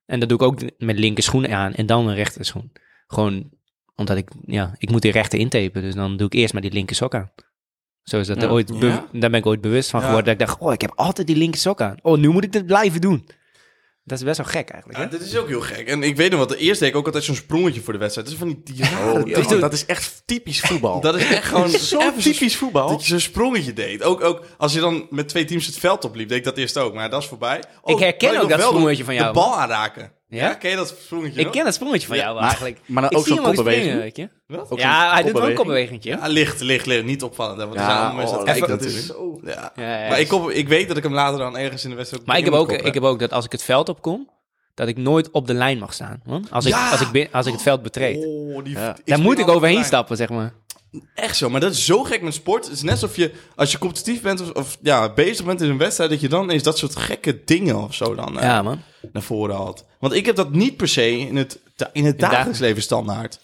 S2: En dat doe ik ook met linker schoen aan en dan een rechter schoen. Gewoon omdat ik, ja, ik moet die rechter intapen. Dus dan doe ik eerst maar die linker sok aan. Zo is dat er
S3: Ja.
S2: ooit, be-
S1: Ja.
S2: daar ben ik ooit bewust van
S1: Ja.
S2: geworden. Dat ik dacht, oh, ik heb altijd die linker sok aan. Oh, nu moet ik dit blijven doen. Dat is best wel gek eigenlijk.
S1: Ja,
S2: Hè?
S1: dit is ook heel gek. En ik weet nog wat, de eerste deed ik ook altijd zo'n sprongetje voor de wedstrijd. Dat is van die, die rare
S3: Oh,
S1: dingen.
S3: dat, dat is echt typisch voetbal.
S1: Dat is echt gewoon
S3: Zo
S1: even zo'n
S3: typisch voetbal.
S1: Dat je zo'n sprongetje deed. Ook, ook als je dan met twee teams het veld opliep, deed ik dat eerst ook. Maar dat is voorbij. Oh,
S2: Ik herken
S1: wil je
S2: ook
S1: nog
S2: dat
S1: wel
S2: sprongetje van jou,
S1: De bal aanraken.
S2: Ja?
S1: Ja? ken je dat sprongetje
S2: ik
S1: nog?
S2: ken dat sprongetje van jou wel eigenlijk.
S3: maar dan
S2: Ik
S3: ook
S2: zie
S3: zo'n
S2: hem
S3: kopbeweging.
S2: springen, weet je.
S1: Wat?
S3: Ook zo'n
S2: Ja, hij doet wel een
S3: kopbeweging.
S2: kopbewegingje.
S1: Ja, Ah, licht, licht, licht. Niet opvallen. hè, Want er
S3: Ja,
S1: zijn allemaal mensen
S3: oh,
S1: dat
S3: even-
S1: kijken
S3: dat is
S1: natuurlijk. Ja.
S2: Ja,
S1: Maar
S2: ja, ja.
S1: ik, kom, ik weet dat ik hem later dan ergens in de wedstrijd...
S2: Maar ik heb,
S1: in
S2: ook,
S1: moet
S2: ik
S1: koppen.
S2: heb ook dat als ik het veld opkom, dat ik nooit op de lijn mag staan. Man. Als, ik,
S1: Ja!
S2: als, ik, bin- als ik het veld betreed.
S1: Oh, die,
S3: Ja.
S1: die
S2: Daar moet
S1: springen
S2: ik
S1: allemaal
S2: overheen
S1: klein.
S2: stappen, zeg maar.
S1: Echt zo, maar dat is zo gek met sport. Het is net alsof je, als je competitief bent of, of ja, bezig bent in een wedstrijd... dat je dan eens dat soort gekke dingen of zo dan... eh,
S2: Ja, man.
S1: naar voren haalt. Want ik heb dat niet per se in het, da- in het dagelijks leven standaard.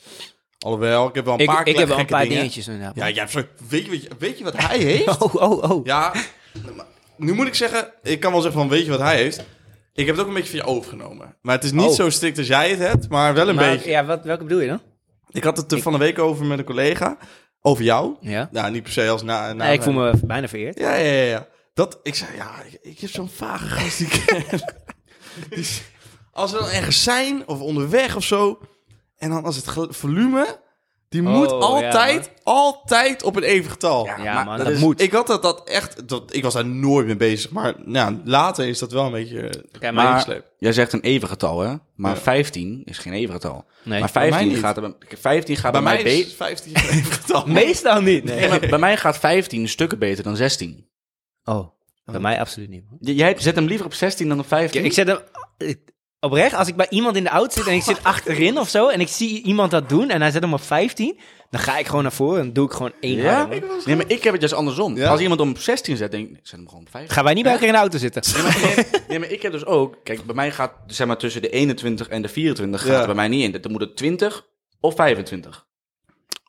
S1: Alhoewel, ik heb wel een
S2: Ik,
S1: paar
S2: ik heb wel een
S1: gekke
S2: paar
S1: dingen.
S2: dingetjes inderdaad.
S1: Ja, jij hebt zo- weet, je, wat je- weet je wat hij heeft?
S2: Oh, oh, oh.
S1: Ja, maar nu moet ik zeggen, ik kan wel zeggen van weet je wat hij heeft? Ik heb het ook een beetje van je overgenomen. Maar het is niet
S2: Oh.
S1: zo strikt als jij het hebt, maar wel een
S2: Maar,
S1: beetje.
S2: Ja, wat, welke bedoel je dan?
S1: Ik had het er van de week over met een collega, over jou.
S2: Ja.
S1: Nou, niet per se als na... na
S2: Nee, ik voel me bijna vereerd.
S1: Ja, ja, ja. ja. Dat, ik zei, ja, ik, ik heb zo'n vage gast die ik ken. Die s- als we dan ergens zijn of onderweg of zo. En dan als het gel- volume, die
S2: Oh,
S1: moet
S2: ja,
S1: altijd,
S2: man.
S1: altijd op een even getal.
S3: Ja,
S2: Ja,
S3: maar dus
S2: man, dat,
S3: dat is-
S2: moet.
S1: Ik had dat, dat echt, dat, ik was daar nooit mee bezig. Maar nou, later is dat wel een beetje eh,
S2: Kijk, maar-
S3: Maar
S1: meegesleept.
S3: jij zegt een even getal, hè? Maar
S1: Ja.
S3: 15 is geen even getal.
S2: Nee.
S3: maar
S1: bij mij
S3: 15
S1: niet.
S3: gaat, er bij- 15 gaat
S1: Bij
S3: bij,
S1: mij
S3: mij
S1: is
S3: be-
S1: 15 een even getal.
S2: Meestal niet.
S3: Nee, maar bij mij gaat 15 stukken beter dan 16.
S2: Oh, bij mij absoluut niet. man.
S3: J- Jij zet hem liever op 16 dan op 15.
S2: Ik zet hem ik- oprecht, als ik bij iemand in de auto zit en ik zit achterin of zo en ik zie iemand dat doen en hij zet hem op 15, dan ga ik gewoon naar voren en doe ik gewoon één
S3: ja?
S2: harde, man.
S3: nee, maar ik heb het juist andersom.
S1: Ja?
S3: Als iemand hem op 16 zet, denk ik, zet hem gewoon op 15.
S2: Gaan wij niet bij elkaar in de auto zitten?
S3: Nee, maar ik heb dus ook... Kijk, bij mij gaat zeg maar, tussen de 21 en de 24
S1: Ja.
S3: gaat het bij mij niet in. Dan moet het 20 of 25.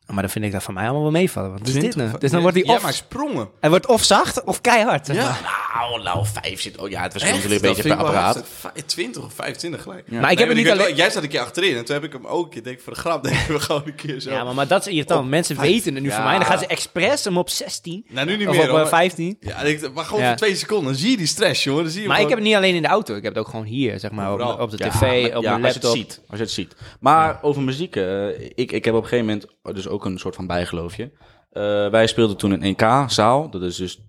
S2: Maar dan vind ik dat van mij allemaal wel meevallen. Wat is dit nou? Dus dan
S1: Ja,
S2: wordt hij
S1: maar
S2: of,
S1: sprongen.
S2: hij wordt of zacht of keihard. zeg
S1: Ja.
S2: maar.
S3: Nou, nou, vijf zit... Oh ja, het was
S1: Echt?
S3: natuurlijk een
S1: Dat
S3: beetje
S1: vind
S3: per
S1: ik wel
S3: apparaat.
S1: heftig. Vij- 20 of 25 gelijk.
S2: Maar Ah, ik heb het
S1: Nee, maar
S2: niet
S1: weet
S2: alleen...
S1: wel, Jij zat een keer achterin en toen heb ik hem ook. Ik denk voor de grap denken we gewoon een keer zo.
S2: Ja, maar, maar dat is irritant. Mensen weten het nu
S1: Ja.
S2: van mij. En dan gaan ze expres hem op 16.
S1: nou, nu niet
S2: of
S1: meer.
S2: op
S1: hoor,
S2: eh,
S1: maar-
S2: 15.
S1: Ja, ik denk, maar gewoon
S2: Ja.
S1: voor twee seconden. Dan zie je die stress, jongen. Dan zie je
S2: Maar ik
S1: hem
S2: heb het niet alleen in de auto. Ik heb het ook gewoon hier, zeg maar. Op,
S1: Overal.
S2: op de
S3: Ja,
S2: tv,
S3: maar-
S2: op
S3: ja,
S2: mijn
S3: Als je
S2: laptop.
S3: het ziet. Als je het ziet. Maar over muziek. eh, ik, ik heb op een gegeven moment dus ook een soort van bijgeloofje. Eh, wij speelden toen in 1K zaal. Dat is dus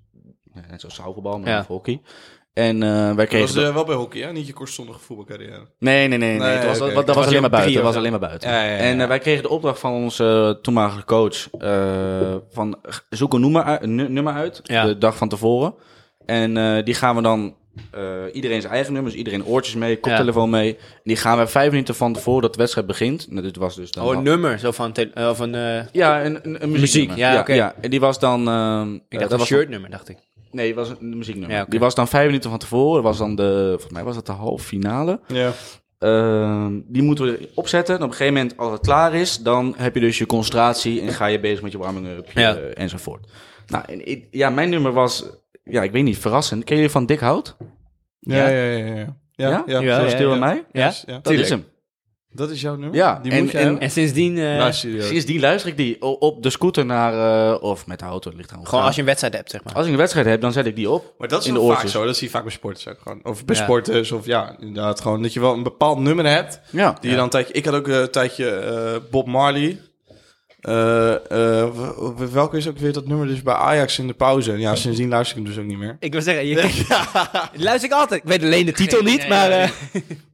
S3: eh, net zoals zaalvoetbal, maar
S2: Ja.
S3: dan voor hockey. En eh, wij
S1: gewoon-
S3: kregen...
S1: Dat was eh, wel bij hockey, hè? Niet je kortstondige voetbalcarrière.
S3: Nee, nee, nee. nee,
S1: Nee,
S3: het was,
S1: oké.
S3: dat, dat
S1: Het
S3: was
S2: was
S3: alleen maar buiten.
S2: drie,
S3: Dat was
S2: hoor.
S3: alleen maar buiten.
S1: Ja, ja, ja,
S3: En eh,
S1: ja.
S3: wij kregen de opdracht van onze toenmalige coach... eh, van g- zoek een nummer uit, nu- nummer uit
S2: Ja.
S3: de dag van tevoren. En eh, die gaan we dan... eh, iedereen zijn eigen nummers, iedereen oortjes mee, koptelefoon mee. En die gaan we vijf minuten van tevoren dat de wedstrijd begint. Nou, dit was dus dan...
S2: Oh, een nummer. Zo van... tele- eh, of een, eh,
S3: ja, een, een, een muzieknummer.
S2: ja, oké.
S3: En die was dan... ehm,
S2: ik
S3: eh,
S2: dacht
S3: dat
S2: een
S3: was
S2: shirtnummer, dacht ik.
S3: Nee, het was een muzieknummer.
S2: Ja, oké.
S3: Die was dan vijf minuten van tevoren. Was dan de, volgens mij was dat de halve finale.
S1: Ja.
S3: Ehm, die moeten we opzetten. En op een gegeven moment, als het klaar is, dan heb je dus je concentratie en ga je bezig met je warming-up je,
S2: Ja.
S3: eh, enzovoort. Nou, en ik- ja, mijn nummer was, ja, ik weet niet, verrassend. Ken je van Dick Hout?
S1: Ja, ja, ja. ja.
S3: Ja?
S2: Ja,
S3: Zo
S2: ja,
S3: stil
S1: ja.
S3: aan mij?
S2: Ja?
S1: Yes, ja.
S3: Dat
S2: Tuurlijk.
S3: is hem.
S1: Dat is jouw nummer?
S3: Ja,
S1: Die
S3: en-
S1: moet je
S3: en-
S1: hebben?
S2: En sindsdien... eh,
S1: Nou, serieus.
S3: Sindsdien luister ik die o- op de scooter naar, eh, of met de auto, het ligt aan.
S2: gewoon als je een wedstrijd hebt, zeg maar.
S3: als ik een wedstrijd heb, dan zet ik die op.
S1: Maar dat is
S3: in de
S1: wel vaak
S3: oortjes.
S1: zo. Dat zie je vaak bij sporters ook gewoon. Of bij
S2: Ja.
S1: sporters. Of ja, inderdaad. Gewoon dat je wel een bepaald nummer hebt.
S3: Ja.
S1: Die je dan een tijdje... Ik had ook eh, een tijdje eh, Bob Marley. Eh, eh, w- w- welke is ook weer dat nummer? Dus bij Ajax in de pauze. En Ja, sindsdien luister ik hem dus ook niet meer.
S2: Ik wil zeggen, je... luister ik altijd. Ik weet alleen de titel niet, maar... eh,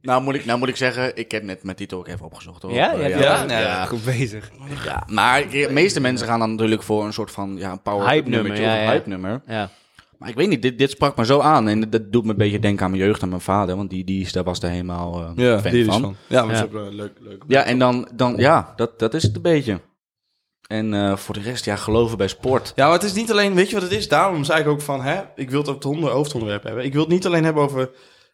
S3: Nou moet, ik, nou moet ik zeggen, ik heb net mijn titel ook even opgezocht. Hoor.
S2: Ja,
S3: Eh,
S2: ja,
S1: ja.
S2: ja.
S3: Ja.
S2: Goed bezig.
S3: Ja, maar de meeste mensen gaan dan natuurlijk voor een soort van ja, een power
S2: Hype nummer,
S3: nummertje
S2: ja,
S3: of een
S2: ja.
S3: hype nummer.
S2: Ja.
S3: Maar ik weet niet, dit, dit sprak me zo aan. En dat doet me een beetje denken aan mijn jeugd en mijn vader. Want die, die is, daar was daar helemaal eh,
S1: Ja,
S3: fan
S1: die is
S3: van.
S1: van. Ja, maar
S2: Ja.
S1: dat is ook wel leuk. leuk.
S3: Ja, en dan, dan ja, dat, dat is het een beetje. En eh, voor de rest, ja, geloven bij sport.
S1: Ja, maar het is niet alleen, weet je wat het is? Daarom zei ik ook van, hè, ik wil het op het honder, hoofdonderwerp hebben. Ik wil het niet alleen hebben over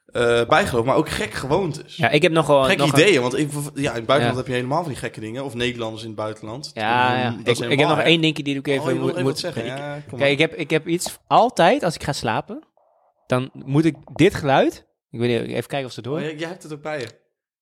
S1: eh, bijgeloof, maar ook gek gewoontes.
S2: ja, ik heb nogal...
S1: Gek
S2: nog een-
S1: ideeën, want ik, ja, in het buitenland
S2: Ja.
S1: heb je helemaal van die gekke dingen. Of Nederlanders in het buitenland. Mm,
S2: Ja,
S1: Dat
S2: ja.
S1: is
S2: Ik,
S1: helemaal
S2: ik heb nog
S1: gek.
S2: één dingetje die ik even
S1: Oh, je
S2: moet,
S1: moet nog even
S2: moet-
S1: wat zeggen.
S2: ik-
S1: Ja, kom
S2: Kijk,
S1: maar.
S2: ik heb, ik heb iets... Altijd, als ik ga slapen, dan moet ik dit geluid... Ik weet niet, even kijken of ze het
S1: Oh,
S2: horen.
S1: jij, jij hebt het ook bij je.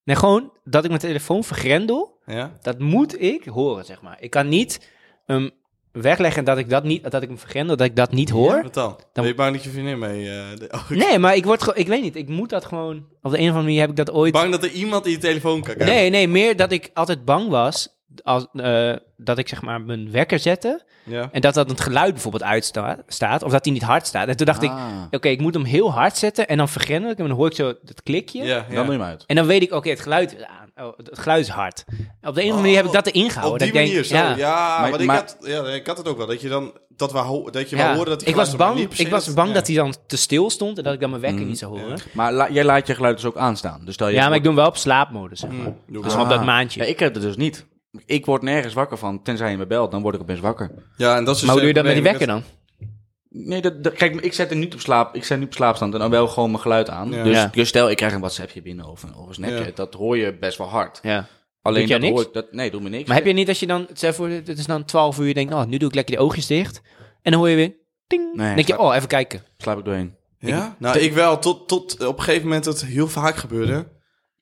S2: Nee, gewoon dat ik mijn telefoon vergrendel...
S1: Ja?
S2: Dat moet ik horen, zeg maar. Ik kan niet ehm, wegleggen dat ik dat niet, dat ik hem vergrendel, dat ik dat niet hoor.
S1: Wat dan?
S2: Dan-
S1: Dan ben je bang dat je vriendin mee... eh, de- oh, ik-
S2: Nee, maar ik word gewoon, ik weet niet, ik moet dat gewoon, op de een of andere manier heb ik dat ooit.
S1: Bang dat er iemand in je telefoon kan kijken.
S2: Nee, nee, meer dat ik altijd bang was als, eh, dat ik zeg maar mijn wekker zette
S1: Ja.
S2: en dat dat het geluid bijvoorbeeld uitstaat of dat die niet hard staat. En toen dacht ik, oké,
S3: Ah,
S2: ik moet hem heel hard zetten en dan vergrendel ik hem en dan hoor ik zo het klikje.
S1: Ja, ja.
S3: Dan doe je hem uit.
S2: En dan weet ik, oké, het geluid is aan. Oh, het geluid is hard. Op de een of andere manier heb ik dat erin gehouden.
S1: Oh, Op die
S2: dat ik
S1: manier,
S2: denk,
S1: zo. Ja,
S2: ja.
S1: maar,
S3: Maar-
S1: ik,
S3: maar-
S1: had, ja, ik had het ook wel. Dat je dan dat we, ho- dat je
S2: Ja,
S1: wel hoorde dat die
S2: ik was
S1: geluid er maar
S2: bang,
S1: niet per se
S2: ik was bang
S1: ja.
S2: dat hij dan te stil stond en dat ik dan mijn wekker
S3: Mm.
S2: niet zou horen.
S3: Maar la- jij laat je geluid dus ook aanstaan. Dus stel
S2: Ja,
S3: je
S2: maar ik doe hem wel op slaapmodus, zeg maar.
S1: Mm, doe
S2: Dus
S1: maar.
S2: op dat
S3: Ah.
S2: maandje.
S3: Ja, ik heb het dus niet. Ik word nergens wakker van, tenzij je me belt, dan word ik opeens wakker.
S1: Ja, en dat is dus
S2: maar hoe doe je
S1: het
S2: dat met die
S1: probleem.
S2: wekker dan?
S3: Nee, dat, dat- kijk, ik zet hem niet op slaap. Ik zet nu op slaapstand en dan wel gewoon mijn geluid aan.
S1: Ja.
S3: Dus,
S2: Ja.
S3: dus stel, ik krijg een WhatsAppje binnen of een, of een snapje.
S1: Ja.
S3: Dat hoor je best wel hard.
S2: Ja.
S3: Alleen
S2: jij
S3: dat
S2: niks?
S3: hoor ik dat. Nee, doe me niks.
S2: Maar heb je niet als je dan, zeg voor, het is dan 12 uur, je denkt, oh, nu doe ik lekker de oogjes dicht. En dan hoor je weer, ting.
S3: Nee,
S2: Dan denk je,
S3: slaap-
S2: oh, even kijken.
S3: Slaap ik doorheen.
S1: Ja? Nou, ik wel. Tot, tot op een gegeven moment dat heel vaak gebeurde.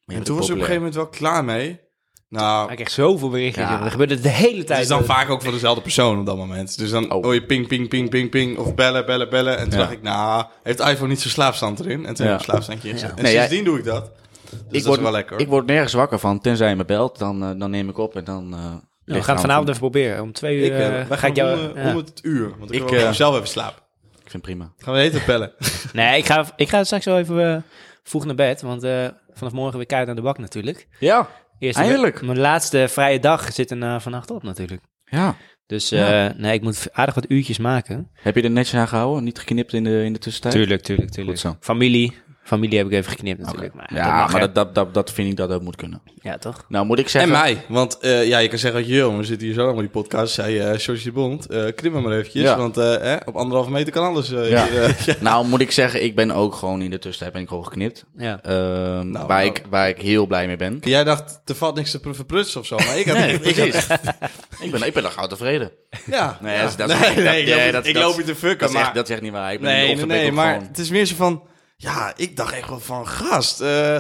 S3: Maar
S1: en toen was ik op een gegeven moment wel klaar mee. Nou,
S2: Ik krijg zoveel berichtjes,
S3: Ja.
S2: jongen. Dat gebeurt het de hele
S1: Dus het
S2: tijd.
S1: is dan vaak ook van dezelfde persoon op dat moment. Dus dan
S3: Oh.
S1: hoor je ping, ping, ping, ping, ping. Of bellen, bellen, bellen. En toen
S3: Ja.
S1: dacht ik, nou, heeft iPhone niet zijn slaapstand erin? En toen
S3: Ja.
S1: heb ik een slaapstandje ingezet. En
S3: Nee, jij-
S1: sindsdien doe ik dat. Dus dat
S3: word,
S1: is wel lekker. hoor.
S3: Ik word nergens wakker van, tenzij je me belt. Dan, eh, dan neem ik op en dan. eh,
S2: Nou, we
S3: ligt
S2: gaan
S3: het
S2: het
S3: aan
S2: vanavond
S3: me
S2: even proberen. Om twee uur
S1: Ik, eh,
S2: eh,
S1: wij
S2: ga
S1: gaan
S2: ik jou...
S1: om, eh,
S2: ja.
S1: om het uur. Want ik,
S3: Ik,
S1: wil
S3: eh,
S1: zelf even slapen.
S3: toe. Ik vind het prima.
S1: Gaan we eten bellen.
S2: Nee, ik ga, ik ga straks wel even eh, vroeg naar bed, want eh, vanaf morgen weer keihard aan de bak natuurlijk.
S3: Ja.
S2: Eerst
S3: Eindelijk.
S2: Mijn laatste vrije dag zit er eh, vannacht op natuurlijk.
S3: Ja.
S2: Dus
S3: Ja.
S2: eh, nee, ik moet aardig wat uurtjes maken.
S3: Heb je er netjes aan gehouden? Niet geknipt in de, in de tussentijd?
S2: Tuurlijk, tuurlijk,
S3: tuurlijk.
S2: Familie, Familie heb ik even geknipt natuurlijk. Maar
S3: Ja,
S2: dat mag,
S3: maar
S2: hè?
S3: dat, dat, dat, dat vind ik dat ook moet kunnen.
S2: ja, toch?
S3: Nou, moet ik
S1: En
S3: zeggen...
S1: mij. Want eh, ja, je kan zeggen, joh, we zitten hier zo allemaal die podcast. Zei eh George de Bond, eh krimmen maar eventjes.
S3: Ja.
S1: Want eh, hè, op anderhalve meter kan alles. eh,
S3: Ja.
S1: hier, eh, ja.
S3: Nou, moet ik zeggen, ik ben ook gewoon in de tussentijd ben ik gewoon geknipt.
S2: Ja.
S3: Ehm,
S1: Nou,
S3: waar,
S1: nou.
S3: Ik, waar ik heel blij mee ben.
S1: Jij dacht, er valt niks te pr- verprutsen of zo. Maar ik had
S3: Nee,
S1: ik had-
S3: precies. ik, ben, ik ben dan gauw tevreden.
S1: ja.
S3: Nee,
S1: Ja.
S3: dat is- dat is-
S1: nee,
S3: dat-
S1: nee, ik
S3: nee,
S1: loop-
S3: dat-
S1: ik
S3: dat-
S1: loop je te
S3: Dat
S1: fucken.
S3: is,
S1: Maar
S3: echt, dat is echt niet waar. Ik ben
S1: Nee,
S3: off
S1: nee,
S3: the back
S1: nee,
S3: op
S1: maar
S3: gewoon-
S1: het is meer zo van... Ja, ik dacht echt wel van, gast... eh,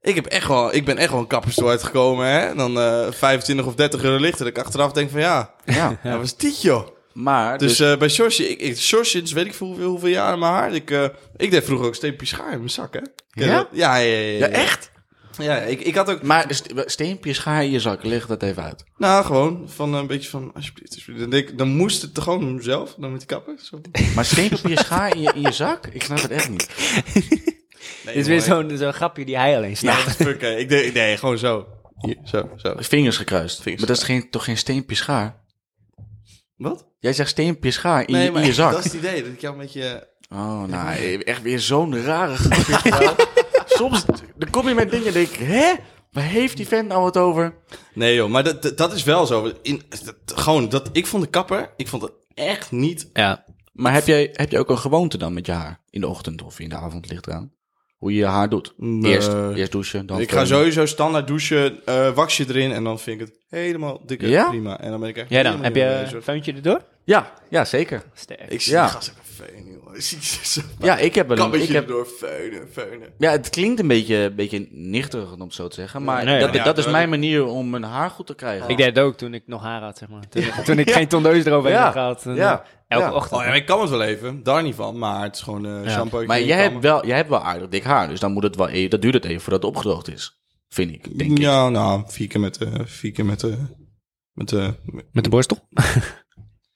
S1: ik, heb echt wel, ik ben echt wel een kapperstoel uitgekomen, hè? Dan eh 25 of 30 euro lichter. Dat ik achteraf denk van, ja,
S3: Ja,
S1: dat was dit, joh.
S3: maar...
S1: Dus
S3: Dus,
S1: eh, bij Sjosje, ik, ik Sjors sinds weet ik veel hoeveel, hoeveel jaren maar haar. Ik, eh, ik deed vroeger ook steempje schaar in mijn zak, hè? Ken je
S3: Ja?
S1: dat? Ja, ja, ja, ja,
S3: eh, ja,
S1: ja.
S3: echt?
S1: Ja, ik, ik had ook...
S3: Maar de st- steempjes ga je in je zak, leg dat even uit.
S1: Nou, gewoon van een beetje van, alsjeblieft, alsjeblieft. Dan, denk ik, dan moest het toch gewoon zelf, dan met die kapper. Zo.
S3: Maar steenpapier schaar in je, in je zak? Ik snap het echt niet.
S1: Nee,
S2: Dit is weer
S1: jongen,
S2: zo'n zo'n grapje die hij alleen snapt.
S1: Ja, dat is fucken. Ik deed, nee, gewoon zo. Hier, zo, zo.
S3: Vingers gekruist.
S1: Vingers
S3: maar dat is geen, toch geen steempje schaar?
S1: Wat?
S3: Jij zegt steempje schaar in, je- in je zak.
S1: dat is het idee. Dat ik jou een beetje...
S3: Oh, nou, echt weer zo'n rare grapje gedaan. Soms dan kom je met dingen en denk ik, hè? Waar heeft die vent nou het over?
S1: Nee joh, maar dat, dat, dat is wel zo. In, dat- gewoon, dat, ik vond de kapper, ik vond het echt niet...
S2: Ja.
S3: Maar heb jij, heb jij ook een gewoonte dan met je haar? In de ochtend of in de avond ligt eraan. Hoe je je haar doet.
S1: Nee.
S3: Eerst, eerst douchen, dan
S1: ik ga
S3: feunen.
S1: sowieso standaard douchen, eh wasje erin en dan vind ik het helemaal dikke
S3: Ja?
S1: prima. En dan ben ik echt
S2: Jij dan?
S1: helemaal
S2: Heb je
S1: niet meer
S2: een
S1: bezig.
S2: vuntje erdoor?
S3: Ja, ja, zeker.
S2: Sterk.
S1: Ik zie
S3: Ja.
S1: ja. gas even feunen joh. Ik zie ze zo
S3: Ja, ik heb wel een... Ik
S1: kabbetje
S3: heb,
S1: door feunen, feunen.
S3: ja, het klinkt een beetje, een beetje nichterig om het zo te zeggen. Maar
S2: Nee,
S3: dat,
S1: ja.
S3: dat is mijn manier om mijn haar goed te krijgen.
S2: Ik deed het ook toen ik nog haar had, zeg maar. Toen, toen ik geen tondeus eroverheen
S3: Ja.
S2: had gehad. En,
S3: Ja.
S2: eh, Elke
S3: Ja.
S2: ochtend.
S1: Oh ja, maar ik kan het wel even, daar niet van, maar het is gewoon eh shampoo.
S3: maar jij hebt, wel, jij hebt wel aardig dik haar. Dus dan moet het wel, e- dat duurt het even voordat het opgedroogd is. Vind ik, denk ik.
S1: Ja, nou, vier keer met de... Vier keer met de... Met de...
S2: Met de borstel?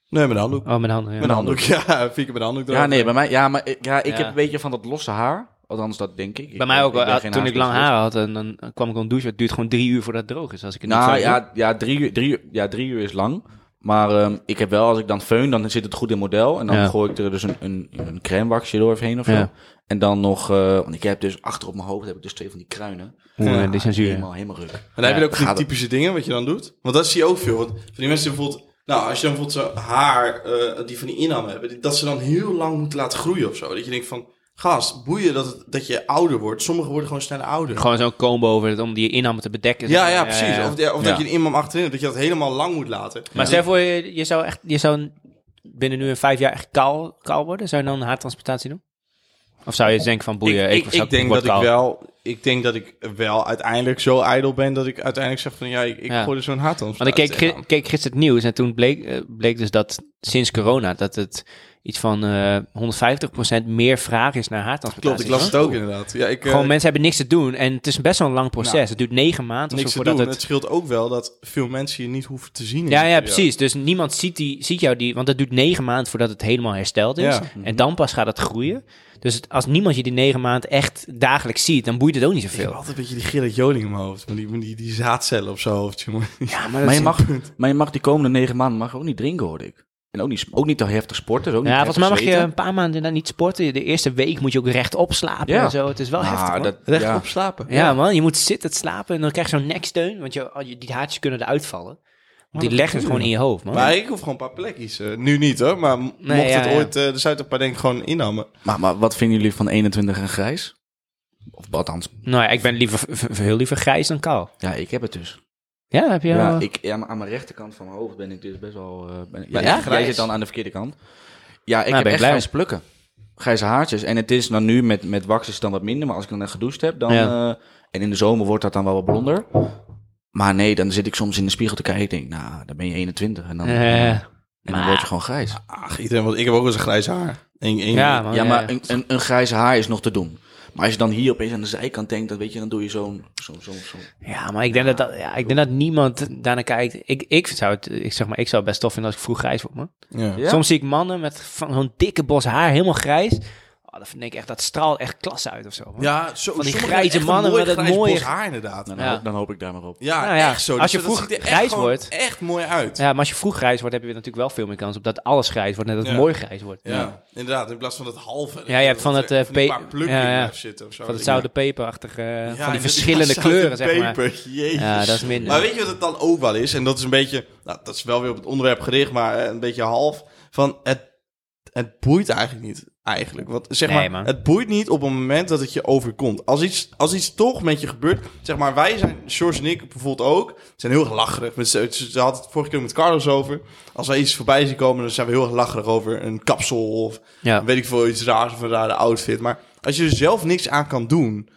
S1: Nee, met de handdoek.
S2: Oh, met handen. Ja.
S1: Met een handdoek, ja. Vier keer met een handdoek
S3: Ja,
S1: erover.
S3: nee, bij mij, ja, maar ik- ja, ik
S2: Ja.
S3: heb een beetje van dat losse haar. Althans, dat denk ik. Ik-
S2: Bij mij ook
S3: ben
S2: wel. eh,
S3: geen dus-
S2: toen ik lang
S3: haarspecialist.
S2: haar had, en dan eh, kwam ik onder douche. Het duurt gewoon drie uur voordat het droog is. Als ik het niet
S3: Nou
S2: zou doen.
S3: ja, ja, drie uur, drie, uur- ja, drie uur is lang. Maar ehm, ik heb wel, als ik dan feun, dan zit het goed in model. En dan
S2: Ja.
S3: gooi ik er dus een, een, een crème waxje doorheen of zo.
S2: Ja.
S3: En dan nog, eh, want ik heb dus achter op mijn hoofd heb ik dus twee van die kruinen.
S2: Oeh,
S1: Ja,
S2: die zijn zuur.
S3: Helemaal, helemaal ruk.
S1: En dan heb je
S3: Ja,
S1: ook van die
S3: gaat het.
S1: typische dingen wat je dan doet. Want dat zie je ook veel. Want van die mensen bijvoorbeeld... Nou, als je dan bijvoorbeeld zo'n haar, eh, die van die innam hebben... die- dat ze dan heel lang moeten laten groeien of zo. Dat je denkt van... Gast, boeien dat, het- dat je ouder wordt. Sommigen worden gewoon sneller ouder.
S2: Gewoon zo'n combo over het, om die inhammen te bedekken. zeg
S1: ja,
S2: maar.
S1: ja, precies. Of, de- of
S3: Ja.
S1: dat je een imam achterin hebt. Dat je dat helemaal lang moet laten.
S2: Maar stel voor, je, je zou echt, je zou binnen nu en vijf jaar echt kaal, kaal worden. Zou je dan een haartransplantatie doen? Of zou je denken van boeien, ik, zou-
S1: denk dat
S2: word
S1: ik
S2: kaal.
S1: wel... Ik denk dat ik wel uiteindelijk zo ijdel ben... dat ik uiteindelijk zeg van... Ja, ik, ik
S2: Ja.
S1: gooi er zo'n haat aan.
S2: Want ik keek, gi- keek gisteren het nieuws en toen bleek, eh, bleek dus dat sinds corona dat het iets van eh 150% meer vraag is naar
S1: Klopt,
S2: haartransplantaties.
S1: ik las
S2: hoor.
S1: het ook inderdaad. Ja, ik, eh,
S2: Gewoon mensen hebben niks te doen en het is best wel een lang proces.
S1: Nou,
S2: het duurt negen maanden of zo
S1: niks te
S2: voordat
S1: doen. Het...
S2: het...
S1: scheelt ook wel dat veel mensen je niet hoeven te zien. in
S2: Ja,
S1: die
S2: ja,
S1: periode.
S2: precies. Dus niemand ziet, die, ziet jou die... Want het duurt negen maanden voordat het helemaal hersteld is.
S1: Ja.
S2: En dan pas gaat het groeien. Dus het- als niemand je die negen maanden echt dagelijks ziet... dan boeit het ook niet
S1: Ik heb
S2: zoveel.
S1: altijd een beetje die Gerrit Joling in mijn hoofd. Maar die, maar die, die zaadcellen op zijn hoofd. jongen.
S3: Maar je, mag, maar je mag die komende negen maanden mag ook niet drinken, hoorde ik. En ook niet, ook niet te heftig sporten. dus Ook niet
S2: Ja,
S3: heftig
S2: volgens mij mag je
S3: zweten.
S2: een paar maanden dan niet sporten. De eerste week moet je ook rechtop slapen
S3: Ja.
S2: en zo. Het is wel
S3: Ah,
S1: Nou,
S2: heftig, man.
S3: dat-
S1: Recht
S3: ja.
S1: op slapen.
S2: Ja, man. Je moet zitten slapen en dan krijg je zo'n neksteun. Want je, al je- die haartjes kunnen eruit vallen. Want die leggen ze gewoon in je hoofd, man.
S1: Maar ik hoef gewoon een paar plekjes. eh, nu niet hoor, maar m-
S2: Nee,
S1: mocht
S2: ja,
S1: het
S2: ja.
S1: ooit eh, de Zuid-Europa denk ik gewoon inhammen.
S3: Maar, maar wat vinden jullie van 21 en grijs? Of althans,
S2: Nou ja, ik ben liever, v- v- heel liever grijs dan kaal.
S3: ja, ik heb het dus.
S2: Ja, heb je...
S3: Ja,
S2: al-
S3: ik, ja, maar aan mijn rechterkant van mijn hoofd ben ik dus best wel... eh, ben, ik-
S2: Maar
S3: ja,
S2: echt
S3: jij-
S2: grijs?
S3: Jij zit dan aan de verkeerde kant. Ja, ik
S2: Nou, ben
S3: heb
S2: ik
S3: echt
S2: blij
S3: grijs plukken. Grijze haartjes. En het is dan nu met, met wax is het dan wat minder. Maar als ik dan net gedoucht heb, dan...
S2: Ja.
S3: eh, en in de zomer wordt dat dan wel wat blonder. Maar nee, dan zit ik soms in de spiegel te kijken. Ik denk, nou, dan ben je 21. En dan,
S2: Eh,
S3: en dan word je gewoon grijs.
S1: Ach, iedereen, want ik heb ook wel eens een grijs haar. Eén- één-
S2: Oh, ja, man.
S3: ja,
S2: ja,
S3: maar
S2: ja.
S3: een, een, een grijze haar is nog te doen. Maar als je dan hier opeens aan de zijkant denkt, dan weet je, dan doe je zo'n... zo'n zo'n zo'n-
S2: Ja, maar ik denk, dat, dat, ja, ik denk dat niemand daarnaar kijkt. Ik, ik, zou het, ik, zeg maar, ik zou het best tof vinden als ik vroeg grijs word, man.
S1: ja.
S3: Ja?
S2: Soms zie ik mannen met van zo'n dikke bos haar, helemaal grijs. dat vind ik echt, dat straalt echt klasse uit of zo. man.
S1: Ja, zo,
S2: Van die
S1: sommige
S2: grijze
S1: echt een
S2: mannen
S1: mooi
S2: met dat
S1: grijs
S2: mooie-
S1: bos haar inderdaad.
S3: Dan,
S2: Ja.
S3: hoop, dan hoop ik daar maar op.
S1: Ja,
S2: Nou ja,
S1: echt zo. Dus
S2: als je
S1: Dat-
S2: vroeg
S1: dat ziet er echt
S2: grijs
S1: gewoon
S2: wordt-
S1: Echt mooi uit.
S2: Ja, maar als je vroeg grijs wordt, heb je natuurlijk wel veel meer kans op dat alles grijs wordt. Net dat het
S1: Ja.
S2: mooi grijs wordt.
S1: Ja, inderdaad. In plaats van dat halve.
S2: Ja, je hebt van het, eh,
S1: Van die
S2: pe-
S1: paar plukjes
S2: Oh, ja, ja.
S1: blijft zitten of zo.
S2: Van het
S1: Ja.
S2: zouden peperachtige, eh,
S1: Ja,
S2: van die
S1: inderdaad,
S2: verschillende
S1: zout en
S2: kleuren, zeg maar.
S1: peper, jezus.
S2: Ja, dat is minder.
S1: Maar weet je wat het dan ook wel is? En dat is een beetje, nou, dat is wel weer op het onderwerp gericht, maar eh, een beetje half. Van het, het boeit eigenlijk niet. Eigenlijk. Want zeg
S2: Nee,
S1: maar,
S2: man.
S1: het boeit niet op het moment dat het je overkomt. Als iets, als iets toch met je gebeurt. Zeg maar, wij zijn, George en ik bijvoorbeeld ook, zijn heel erg lacherig. Met, ze ze had het vorige keer met Carlos over. Als wij iets voorbij zien komen, dan zijn we heel erg lacherig over een kapsel of
S2: Ja.
S1: weet ik veel, iets raars of een rare outfit. Maar als je er zelf niks aan kan doen,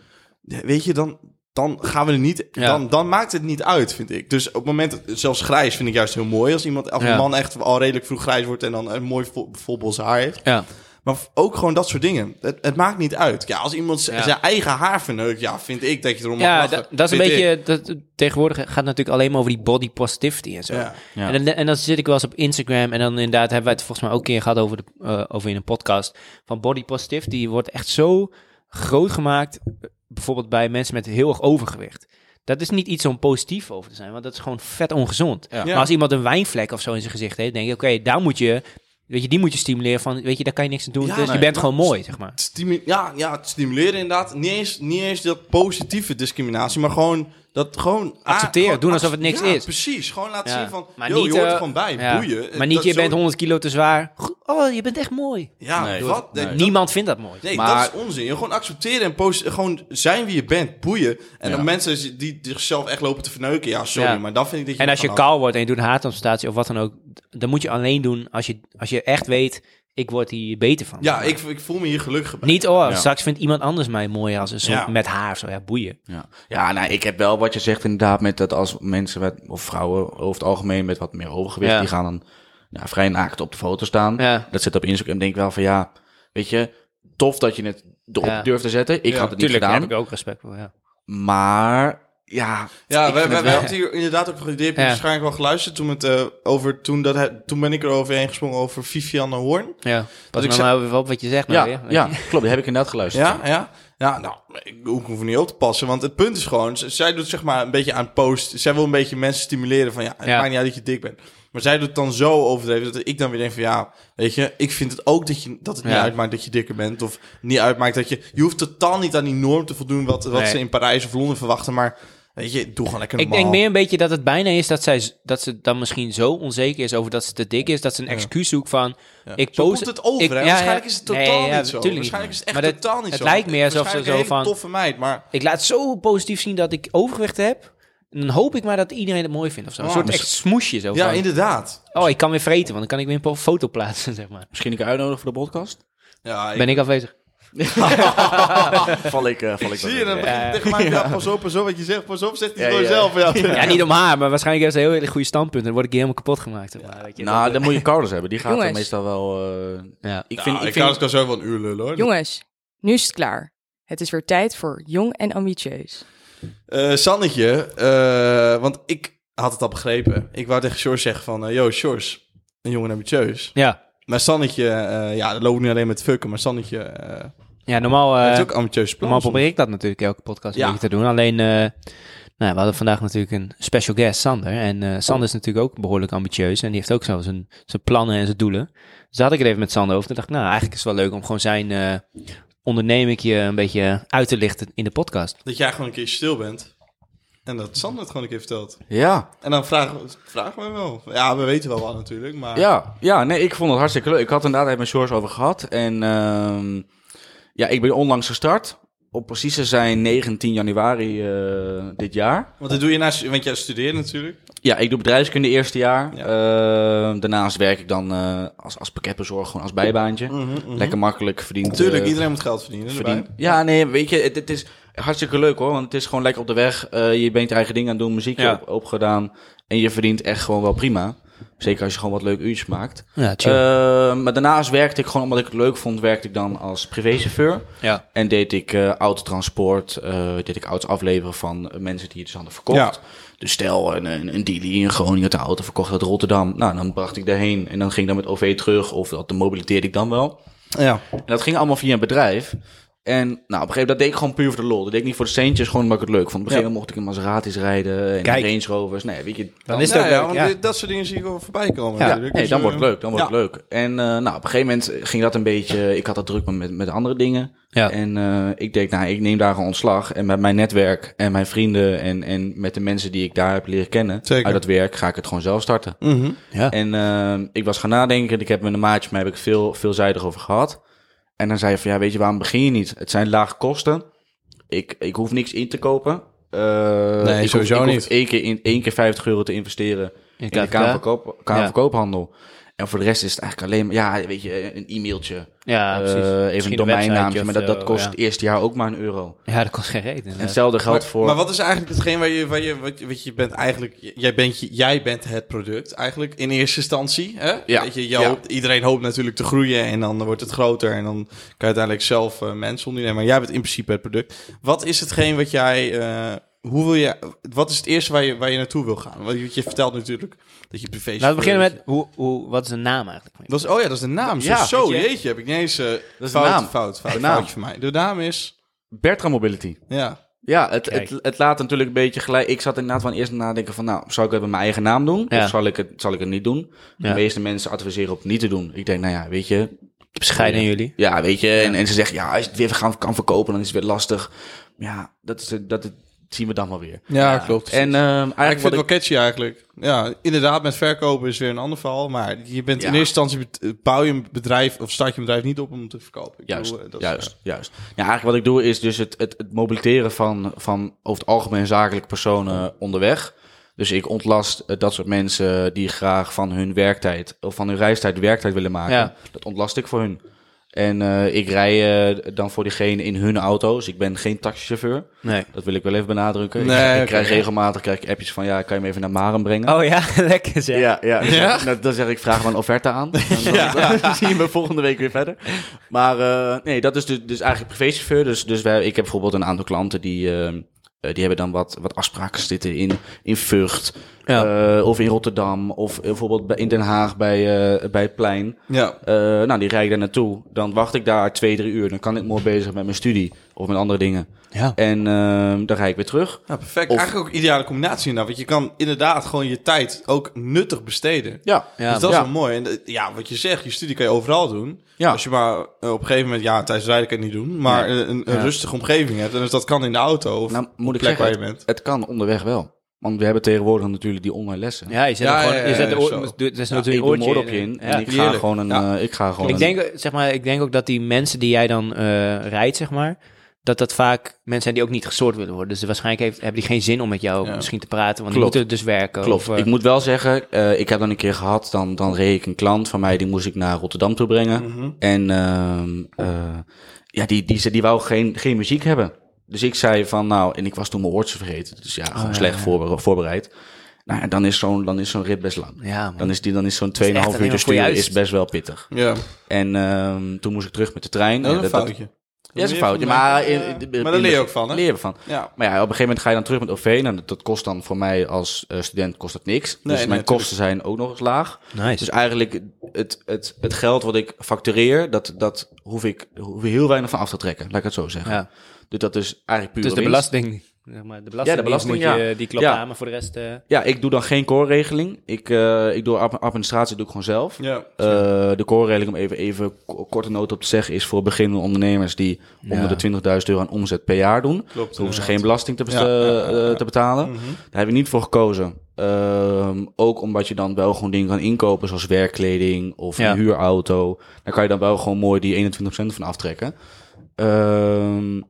S1: weet je, dan, dan gaan we er niet...
S2: Ja.
S1: Dan, dan maakt het niet uit, vind ik. Dus op het moment, dat- zelfs grijs vind ik juist heel mooi. Als iemand, als
S2: Ja.
S1: een man echt al redelijk vroeg grijs wordt en dan een mooi vol, vol bos haar heeft.
S2: Ja.
S1: Maar ook gewoon dat soort dingen. Het, het maakt niet uit. Ja, als iemand z-
S2: Ja.
S1: zijn eigen haar verneukt, ja, vind ik dat je erom
S2: Ja,
S1: mag
S2: da-
S1: lachen.
S2: dat is een
S1: Vind ik.
S2: beetje. Dat, tegenwoordig gaat het natuurlijk alleen maar over die body positivity en zo.
S1: Ja.
S3: Ja.
S2: En, dan, en dan zit ik wel eens op Instagram. En dan inderdaad hebben wij het volgens mij ook een keer gehad over, de, eh, over in een podcast. Van body positivity wordt echt zo groot gemaakt. eh, Bijvoorbeeld bij mensen met heel erg overgewicht. Dat is niet iets om positief over te zijn. Want dat is gewoon vet ongezond.
S3: Ja.
S2: Maar als iemand een wijnvlek of zo in zijn gezicht heeft. Denk ik, oké, daar moet je. Weet je, die moet je stimuleren van. Weet je, daar kan je niks aan doen.
S1: Ja,
S2: dus
S1: nee,
S2: je bent
S1: maar-
S2: gewoon mooi, zeg maar.
S1: Het stimu- ja, ja, het stimuleren inderdaad. Niet eens, niet eens dat positieve discriminatie, maar gewoon dat gewoon... ah,
S2: Accepteren,
S1: gewoon
S2: doen alsof het
S1: accep-
S2: niks
S1: ja,
S2: is.
S1: precies. Gewoon laten
S2: Ja.
S1: zien van,
S2: Maar
S1: joh, je hoort
S2: eh,
S1: er gewoon bij,
S2: ja.
S1: boeien. Eh,
S2: Maar niet,
S1: Dat-
S2: je
S1: zo-
S2: bent 100 kilo te zwaar. Go- Oh, je bent echt mooi.
S1: Ja,
S3: Nee.
S1: wat?
S3: Nee.
S1: Nee, dat-
S2: Niemand vindt dat mooi.
S1: nee,
S3: Maar-
S1: dat is onzin. Je gewoon accepteren en posi- gewoon zijn wie je bent, boeien. En
S3: Ja.
S1: dan mensen die zichzelf echt lopen te verneuken, ja, sorry,
S2: Ja.
S1: maar dan vind ik dat je...
S2: En als je
S1: nog vanaf-
S2: kaal wordt en je doet een haartransplantatie of wat dan ook, d- dan moet je alleen doen als je, als je echt weet, ik word hier beter van.
S1: Ja, ik, ik voel me hier gelukkig bij.
S2: Niet, oh,
S3: Ja.
S2: straks vindt iemand anders mij mooi als een soort
S1: Ja.
S2: met haar of zo. Ja, boeien.
S3: Ja, ja nou, ik heb wel wat je zegt inderdaad met dat als mensen met, of vrouwen over het algemeen met wat meer overgewicht,
S2: Ja.
S3: die gaan dan ja, vrij naakt op de foto staan.
S2: Ja.
S3: Dat zit op Instagram. Denk ik wel van ja, weet je, tof dat je het erop
S2: Ja.
S3: durft te zetten. Ik
S1: Ja,
S3: had het niet
S2: Tuurlijk, daar
S3: gedaan,
S2: heb ik ook respect voor, ja.
S3: maar ja,
S1: Ja, wij,
S3: ik vind
S1: wij,
S3: het
S1: wij
S3: wel-
S1: hadden hier inderdaad ook gedeeld.
S2: Ja.
S1: waarschijnlijk wel geluisterd toen, het, eh, over, toen, dat hij, toen ben ik er overheen gesprongen over Vivianne Hoorn.
S2: ja. Pas
S1: ik
S2: nou
S1: zeg-
S2: maar even op wat je zegt nou
S3: ja,
S2: weer.
S3: ja,
S2: weet je.
S3: klopt. Die heb ik inderdaad geluisterd.
S1: Ja, ja. Ja, nou, ik ik hoef er niet op te passen. Want het punt is gewoon, z- zij doet zeg maar een beetje aan post. Zij wil een beetje mensen stimuleren van ja, het
S2: Ja.
S1: maakt niet uit dat je dik bent. Maar zij doet het dan zo overdreven dat ik dan weer denk van ja, weet je, ik vind het ook dat, je, dat het niet
S2: Ja.
S1: uitmaakt dat je dikker bent. Of niet uitmaakt dat je, je hoeft totaal niet aan die norm te voldoen wat, wat
S2: Nee.
S1: ze in Parijs of Londen verwachten. Maar weet je, doe gewoon lekker
S2: Ik
S1: normaal.
S2: denk meer een beetje dat het bijna is dat, zij, z- dat ze dan misschien zo onzeker is over dat ze te dik is, dat ze een excuus zoekt van,
S1: Ja.
S2: ik
S1: Zo
S2: post...
S1: komt het over,
S2: ik-
S1: hè?
S2: ja, ja.
S1: Waarschijnlijk is het totaal
S2: Nee, ja,
S1: niet zo.
S2: tuurlijk
S1: Waarschijnlijk is het echt
S2: Maar dat-
S1: totaal niet
S2: het
S1: zo.
S2: lijkt meer alsof ze
S1: Waarschijnlijk
S2: zo
S1: een hele
S2: van-
S1: toffe meid, maar...
S2: Ik laat zo positief zien dat ik overgewicht heb. En dan hoop ik maar dat iedereen het mooi vindt of zo. Een
S1: Oh,
S2: soort
S1: mis-
S2: echt smoesje zo.
S1: Ja,
S2: van,
S1: inderdaad.
S2: Oh, ik kan weer vreten, want dan kan ik weer een po- foto plaatsen, zeg maar.
S3: Misschien ik uitnodigen voor de podcast?
S1: Ja, ik-
S2: Ben ik afwezig?
S3: val ik, eh, val ik wel
S1: Zie je,
S3: in.
S1: dan begint hij tegen mij, ja, pas op, pas op wat je zegt, pas op, zegt hij
S3: Ja,
S1: gewoon
S3: ja.
S1: zelf. Ja,
S2: Ja, niet om haar, maar waarschijnlijk heeft ze heel hele goede standpunten. Dan word ik hier helemaal kapot gemaakt. zeg maar, weet je.
S3: Nou, dan moet je Carlos hebben. Die gaat
S4: Jongens.
S3: er meestal wel. eh,
S2: Ja.
S3: ik vind, ik
S1: ik
S3: vind,
S1: kan zo wel een uur lullen, hoor.
S4: Jongens, nu is het klaar. Het is weer tijd voor jong en ambitieus.
S1: Eh, Sannetje, eh, want ik had het al begrepen. Ik wou tegen Sjors zeggen van, eh, yo, Sjors, een jongen ambitieus.
S2: ja.
S1: Maar Sannetje, eh, ja, dat loopt niet alleen met fucken, maar Sannetje eh
S2: ja, normaal, eh,
S1: heeft ook ambitieuze
S2: normaal
S1: plannen.
S2: probeer ik dat natuurlijk elke podcast een
S1: Ja.
S2: beetje te doen. Alleen, eh, nou, we hadden vandaag natuurlijk een special guest, Sander. En eh, Sander is natuurlijk ook behoorlijk ambitieus. En die heeft ook zo zijn, zijn plannen en zijn doelen. Dus daar had ik het even met Sander over. Toen dacht ik, nou, eigenlijk is het wel leuk om gewoon zijn eh ondernemingje een beetje uit te lichten in de podcast.
S1: Dat jij gewoon een keer stil bent. En dat Sander het gewoon een keer vertelt.
S3: ja,
S1: En dan vragen, we- vragen we wel. Ja, we weten wel wat natuurlijk, maar...
S3: ja, ja, nee, ik vond het hartstikke leuk. Ik had inderdaad even met George over gehad. En ehm, ja, ik ben onlangs gestart. Op precies te zijn 19 januari eh, dit jaar.
S1: Want dat doe je naast... Want jij studeert natuurlijk.
S3: Ja, ik doe bedrijfskunde eerste jaar.
S1: Ja.
S3: Ehm, daarnaast werk ik dan eh, als, als pakketbezorger, gewoon als bijbaantje. Lekker makkelijk verdiend.
S1: Mhm, Natuurlijk,
S3: eh,
S1: iedereen moet geld verdienen. erbij.
S3: verdien. Ja, nee, weet je, het, het is hartstikke leuk hoor. Want het is gewoon lekker op de weg. Eh, je bent je eigen ding aan het doen, muziekje
S2: Ja.
S3: op, opgedaan. En je verdient echt gewoon wel prima. Zeker als je gewoon wat leuk uurtjes maakt.
S2: Ja, chill.
S3: Eh, maar daarnaast werkte ik gewoon, omdat ik het leuk vond, werkte ik dan als privéchauffeur.
S2: ja.
S3: En deed ik eh, autotransport, eh, deed ik auto's afleveren van eh, mensen die het dus hadden verkocht.
S1: Ja.
S3: Dus stel, een, een, een dealer in Groningen had de auto verkocht uit Rotterdam. Nou, dan bracht ik daarheen en dan ging ik dan met OV terug of dat mobiliteerde ik dan wel.
S1: Ja.
S3: En dat ging allemaal via een bedrijf. En nou, op een gegeven moment, dat deed ik gewoon puur voor de lol. Dat deed ik niet voor de centjes, gewoon omdat ik het leuk vond. Op een gegeven moment mocht ik in Maserati's rijden en
S2: Kijk.
S3: Range Rovers. Nee, weet je,
S2: Dan is het ook
S1: ja,
S2: leuk,
S1: want
S2: ja.
S1: dit- dat soort dingen zie ik wel voorbij komen.
S2: Ja.
S1: natuurlijk.
S3: Nee,
S1: Dus,
S3: dan
S1: eh,
S3: wordt het leuk, dan wordt
S1: ja.
S3: het leuk. En eh, nou, op een gegeven moment ging dat een beetje... Ik had dat druk met, met andere dingen.
S2: Ja.
S3: En eh, ik denk, nou, ik neem daar een ontslag. En met mijn netwerk en mijn vrienden en, en met de mensen die ik daar heb leren kennen...
S1: Zeker.
S3: uit dat werk ga ik het gewoon zelf starten.
S1: Mhm.
S2: Ja.
S3: En eh, ik was gaan nadenken. Ik heb met een maatje, maar heb ik veel, veelzijdig over gehad. En dan zei hij van, ja, weet je, waarom begin je niet? Het zijn lage kosten. Ik, ik hoef niks in te kopen. Eh,
S1: Nee,
S3: ik hoef-
S1: sowieso
S3: ik hoef
S1: niet.
S3: één keer, in, één keer 50 euro te investeren
S2: In
S3: in de
S2: KVK?
S3: Kamerverkoop,
S2: Ja.
S3: Kamerverkoophandel. En voor de rest is het eigenlijk alleen maar, ja, weet je, een e-mailtje.
S2: Ja,
S3: eh,
S2: precies.
S3: even
S2: Misschien
S3: een
S2: websiteje
S3: domeinnaamje.
S2: of
S3: Maar dat, dat
S2: zo,
S3: kost
S2: ja.
S3: het eerste jaar ook maar een euro.
S2: Ja, dat kost geen reet.
S3: En
S2: inderdaad.
S3: hetzelfde geldt
S1: Maar-
S3: voor...
S1: Maar wat is eigenlijk hetgeen waar je, waar je, wat, je- wat je bent eigenlijk... j- Jij bent, je- jij bent het product eigenlijk in eerste instantie. Hè?
S3: Ja.
S1: Weet je, je
S3: Ja.
S1: hoopt- iedereen hoopt natuurlijk te groeien en dan wordt het groter. En dan kan je uiteindelijk zelf eh, mensen ondernemen. Maar jij bent in principe het product. Wat is hetgeen wat jij... eh, hoe wil je, wat is het eerste waar je, waar je naartoe wil gaan? Want je, je vertelt natuurlijk dat je privé...
S2: Laten we beginnen met, hoe, hoe, wat is de naam eigenlijk? van je
S1: Dat is, oh ja, dat is de naam.
S3: Ja,
S1: zo,
S3: weet je.
S1: jeetje, heb ik niet eens... eh,
S3: de
S1: fout,
S3: naam.
S1: fout, fout,
S3: De naam.
S1: foutje van mij. De naam is...
S3: Bertram Mobility.
S1: Ja,
S3: Ja, het,
S2: Kijk.
S3: het, het laat natuurlijk een beetje gelijk. Ik zat inderdaad van eerst nadenken van, nou, zou ik het met mijn eigen naam doen?
S2: Ja.
S3: Of zal ik, het, zal ik het niet doen?
S2: Ja.
S3: De meeste mensen adviseren op niet te doen. Ik denk, nou ja, weet je.
S2: Bescheiden aan jullie.
S3: Ja, weet je. En, en ze zeggen, ja, als je het weer gaan, kan verkopen, dan is het weer lastig. Ja, dat, is, dat, dat zien we dan wel weer.
S1: ja, klopt.
S3: En ehm,
S1: Ja, ik
S3: eigenlijk
S1: vind
S3: wat
S1: het
S3: ik...
S1: wel catchy eigenlijk. Ja, inderdaad, met verkopen is weer een ander verhaal. Maar je bent in
S3: Ja.
S1: eerste instantie bet- bouw je een bedrijf of start je een bedrijf niet op om te verkopen. Ik
S3: Juist,
S1: bedoel, eh, dat is-
S3: juist, juist. Ja, eigenlijk wat ik doe is dus het, het, het mobiliteren van, van over het algemeen zakelijke personen onderweg. Dus ik ontlast eh, dat soort mensen die graag van hun werktijd of van hun reistijd werktijd willen maken.
S2: Ja.
S3: Dat ontlast ik voor hun. En eh, ik rij eh, dan voor diegene in hun auto's. Ik ben geen taxichauffeur.
S2: Nee.
S3: Dat wil ik wel even benadrukken. Ik-
S1: Nee,
S3: ik
S1: oké,
S3: krijg
S1: ja.
S3: regelmatig krijg ik appjes van ja, kan je me even naar Maren brengen?
S2: Oh ja, lekker zeg.
S3: Ja, ja. Dan
S1: Ja?
S3: zeg ik- Dan zeg ik, vraag maar een offerte aan. Dan, dan, dan zie je me volgende week weer verder. Maar eh, nee, dat is dus, dus eigenlijk privéchauffeur. Dus, dus wij, ik heb bijvoorbeeld een aantal klanten die, eh, eh, die hebben dan wat, wat afspraken zitten in, in Vught. eh, of in Rotterdam. Of eh, bijvoorbeeld bij- in Den Haag bij, eh, bij het plein.
S1: Ja.
S3: Eh, nou, die rijd ik daar naartoe. Dan wacht ik daar twee, drie uur. Dan kan ik mooi bezig met mijn studie of met andere dingen.
S2: Ja.
S3: En eh, dan rijd ik weer terug.
S1: Ja, Nou, perfect.
S3: Of-
S1: Eigenlijk ook een ideale combinatie nou, want je kan inderdaad gewoon je tijd ook nuttig besteden.
S3: Ja,
S2: Ja,
S1: dus dat
S3: ja.
S1: is wel mooi. En eh, ja, wat je zegt, je studie kan je overal doen.
S3: Ja.
S1: Als je maar eh, op een gegeven moment, ja, tijdens rijden kan je het niet doen, maar eh, een, een
S2: Ja.
S1: rustige omgeving hebt. En dus dat kan in de auto of
S3: Nou, moet
S1: op
S3: ik
S1: plek
S3: zeggen,
S1: waar je
S3: het,
S1: bent.
S3: het kan onderweg wel. Want we hebben tegenwoordig natuurlijk die online lessen.
S2: Ja, je zet,
S1: Ja,
S2: hem
S1: ja,
S2: gewoon,
S1: ja,
S2: je zet de
S1: ja,
S2: oor,
S1: zo.
S2: dus doe- er is
S3: Nou,
S2: natuurlijk
S3: ik
S2: een
S3: doe
S2: oordje
S3: mijn oordopje in en
S2: Ja.
S3: ik, ga
S1: heerlijk.
S3: gewoon een,
S1: Ja.
S3: eh, ik ga gewoon...
S2: Ik
S3: een-
S2: denk, zeg maar, ik denk ook dat die mensen die jij dan eh, rijdt, zeg maar, dat dat vaak mensen zijn die ook niet gestoord willen worden. Dus waarschijnlijk heeft, hebben die geen zin om met jou
S1: Ja.
S2: misschien te praten, want
S3: Klopt.
S2: die moeten dus werken.
S3: Klopt.
S2: of, eh,
S3: ik moet wel zeggen, eh, ik heb dan een keer gehad, dan, dan reed ik een klant van mij, die moest ik naar Rotterdam toe brengen.
S2: Mhm.
S3: En ehm, eh, ja, die, die, die, die wou geen, geen muziek hebben. Dus ik zei van, nou, en ik was toen mijn oortjes vergeten. Dus ja, gewoon
S2: Oh, ja,
S3: slecht
S2: ja.
S3: voorbe- voorbereid. Nou, ja, dan is zo'n dan is zo'n rit best lang.
S2: ja, man.
S3: Dan is, die- dan is zo'n
S2: echt
S3: 2,5
S2: alleen
S3: uur te
S2: maar voor je
S3: sturen
S2: huis.
S3: is best wel pittig.
S1: Ja,
S3: En ehm, toen moest ik terug met de trein.
S1: dat is
S3: Ja,
S1: een foutje.
S3: Ja, dat is een foutje. Maar, in, in- in-
S1: maar daar leer je ook van, hè?
S3: Leer je van.
S1: Ja.
S3: Maar ja, op een gegeven moment ga je dan terug met OV. En dat, dat kost dan voor mij als eh, student kost dat niks. Dus
S1: nee,
S3: mijn
S1: tuurlijk.
S3: kosten zijn ook nog eens laag.
S2: Nice.
S3: Dus eigenlijk het, het, het geld wat ik factureer, dat, dat hoef ik hoef ik heel weinig van af te trekken. Laat ik het zo zeggen.
S2: ja.
S3: Dus dat is eigenlijk puur
S2: Dus de
S3: winst.
S2: belasting, zeg maar, de belasting,
S3: belasting,
S2: moet je,
S3: ja.
S2: die klopt
S3: Ja.
S2: aan, maar voor de rest... eh,
S3: Ja, ik doe dan geen koorregeling. Ik, eh, ik doe ad- administratie doe ik gewoon zelf.
S1: Ja.
S3: Eh, de koorregeling, om even, even ko- korte noot op te zeggen, is voor beginnende ondernemers die onder de 20.000 euro aan omzet per jaar doen.
S1: Klopt,
S3: Dan hoeven ze
S1: inderdaad.
S3: geen belasting te, best-
S1: Ja, ja, ja,
S3: eh,
S1: ja.
S3: te betalen.
S1: Mhm.
S3: Daar heb ik niet voor gekozen. Ehm, ook omdat je dan wel gewoon dingen kan inkopen, zoals werkkleding of
S2: Ja.
S3: een huurauto. Daar kan je dan wel gewoon mooi die 21% van aftrekken. Ehm,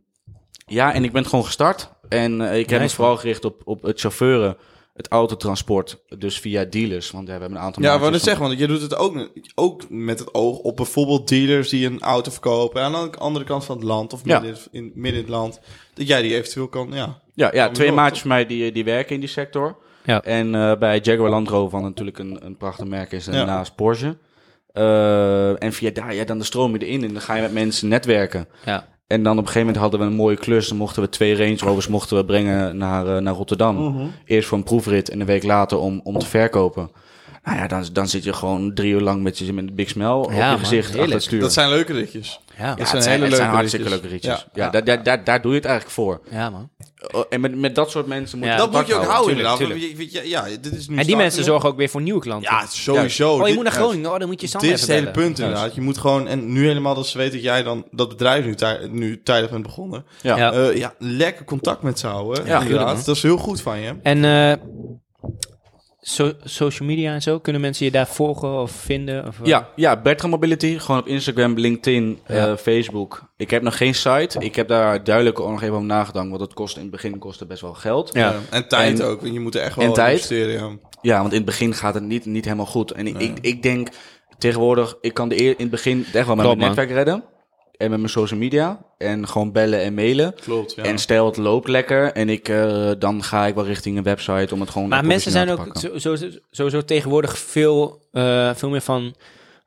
S3: ja, en ik ben gewoon gestart. En eh, ik heb me
S2: Nice,
S3: vooral gericht op, op het chauffeuren, het autotransport, dus via dealers. Want ja, we hebben een aantal
S1: Ja, ik
S3: maatjes
S1: wou net
S3: van-
S1: zeggen, want je doet het ook, ook met het oog op bijvoorbeeld dealers die een auto verkopen aan de andere kant van het land of
S3: Ja.
S1: midden, in, midden in het land. Dat jij die eventueel kan, ja.
S3: Ja, ja
S1: Kom
S3: twee
S1: door,
S3: maatjes van mij die, die werken in die sector.
S2: Ja.
S3: En eh, bij Jaguar Land Rover, wat natuurlijk een, een prachtig merk is, en
S1: Ja.
S3: naast Porsche. Eh, en via daar, ja, dan stroom je erin en dan ga je met mensen netwerken.
S2: ja.
S3: En dan op een gegeven moment hadden we een mooie klus. Dan mochten we twee Range Rovers mochten
S1: Mhm.
S3: we brengen naar, eh, naar Rotterdam. Eerst voor een proefrit en een week later om, om te verkopen. Nou ja, dan, dan zit je gewoon drie uur lang met, je- met een big smell op
S2: Ja,
S3: je
S2: man,
S3: gezicht achter
S2: heerlijk.
S3: het stuur.
S1: Dat zijn leuke ritjes.
S2: Ja,
S3: ja,
S1: dat
S3: het
S1: zijn
S3: zijn,
S1: hele
S3: het zijn
S1: leuke
S3: hartstikke
S1: ritjes.
S3: leuke ritjes.
S1: Ja.
S3: Ja, daar, daar, daar, daar doe je het eigenlijk voor.
S2: ja man.
S3: Oh, En met, met dat soort mensen moet
S2: Ja.
S3: je
S1: dat moet je ook houden
S2: tuurlijk,
S1: inderdaad.
S2: tuurlijk.
S1: want je- weet je- Ja, dit is nu
S2: En die
S1: starten.
S2: mensen zorgen ook weer voor nieuwe klanten.
S1: Ja, sowieso.
S2: oh, je
S1: Dit-
S2: moet naar Groningen. Oh, dan moet je Sander
S1: Dit is
S2: even
S1: het hele
S2: bellen.
S1: punt inderdaad. Je moet gewoon, en nu helemaal dat ze weten dat jij dan dat bedrijf nu, tij- nu tijdig bent begonnen.
S3: Ja.
S2: Ja.
S1: Eh, ja, lekker contact met ze houden.
S3: Ja, tuurlijk,
S1: inderdaad. Dat is heel goed van je.
S2: En eh, so- social media en zo, kunnen mensen je daar volgen of vinden? Of, eh?
S3: Ja, ja, Bertram Mobility. Gewoon op Instagram, LinkedIn, eh,
S2: Ja.
S3: Facebook. Ik heb nog geen site. Ik heb daar duidelijk ook nog even om nagedacht. Want dat kost in het begin kostte best wel geld.
S2: Ja.
S1: Eh, en tijd
S3: En-
S1: ook, want je moet er echt wel
S3: en
S1: in
S3: tijd.
S1: investeren. ja.
S3: Ja, want in het begin gaat het niet, niet helemaal goed. En ik, ik, ik denk tegenwoordig, ik kan de eer, in het begin echt wel met mijn
S2: Klopt, man.
S3: netwerk redden. En met mijn social media. En gewoon bellen en mailen.
S1: Klopt, ja.
S3: En stel het loopt lekker. En ik, eh, dan ga ik wel richting een website om het gewoon
S2: Maar mensen zijn
S3: professioneel
S2: ook
S3: te pakken.
S2: zo- zo- zo- sowieso tegenwoordig veel, eh, veel meer van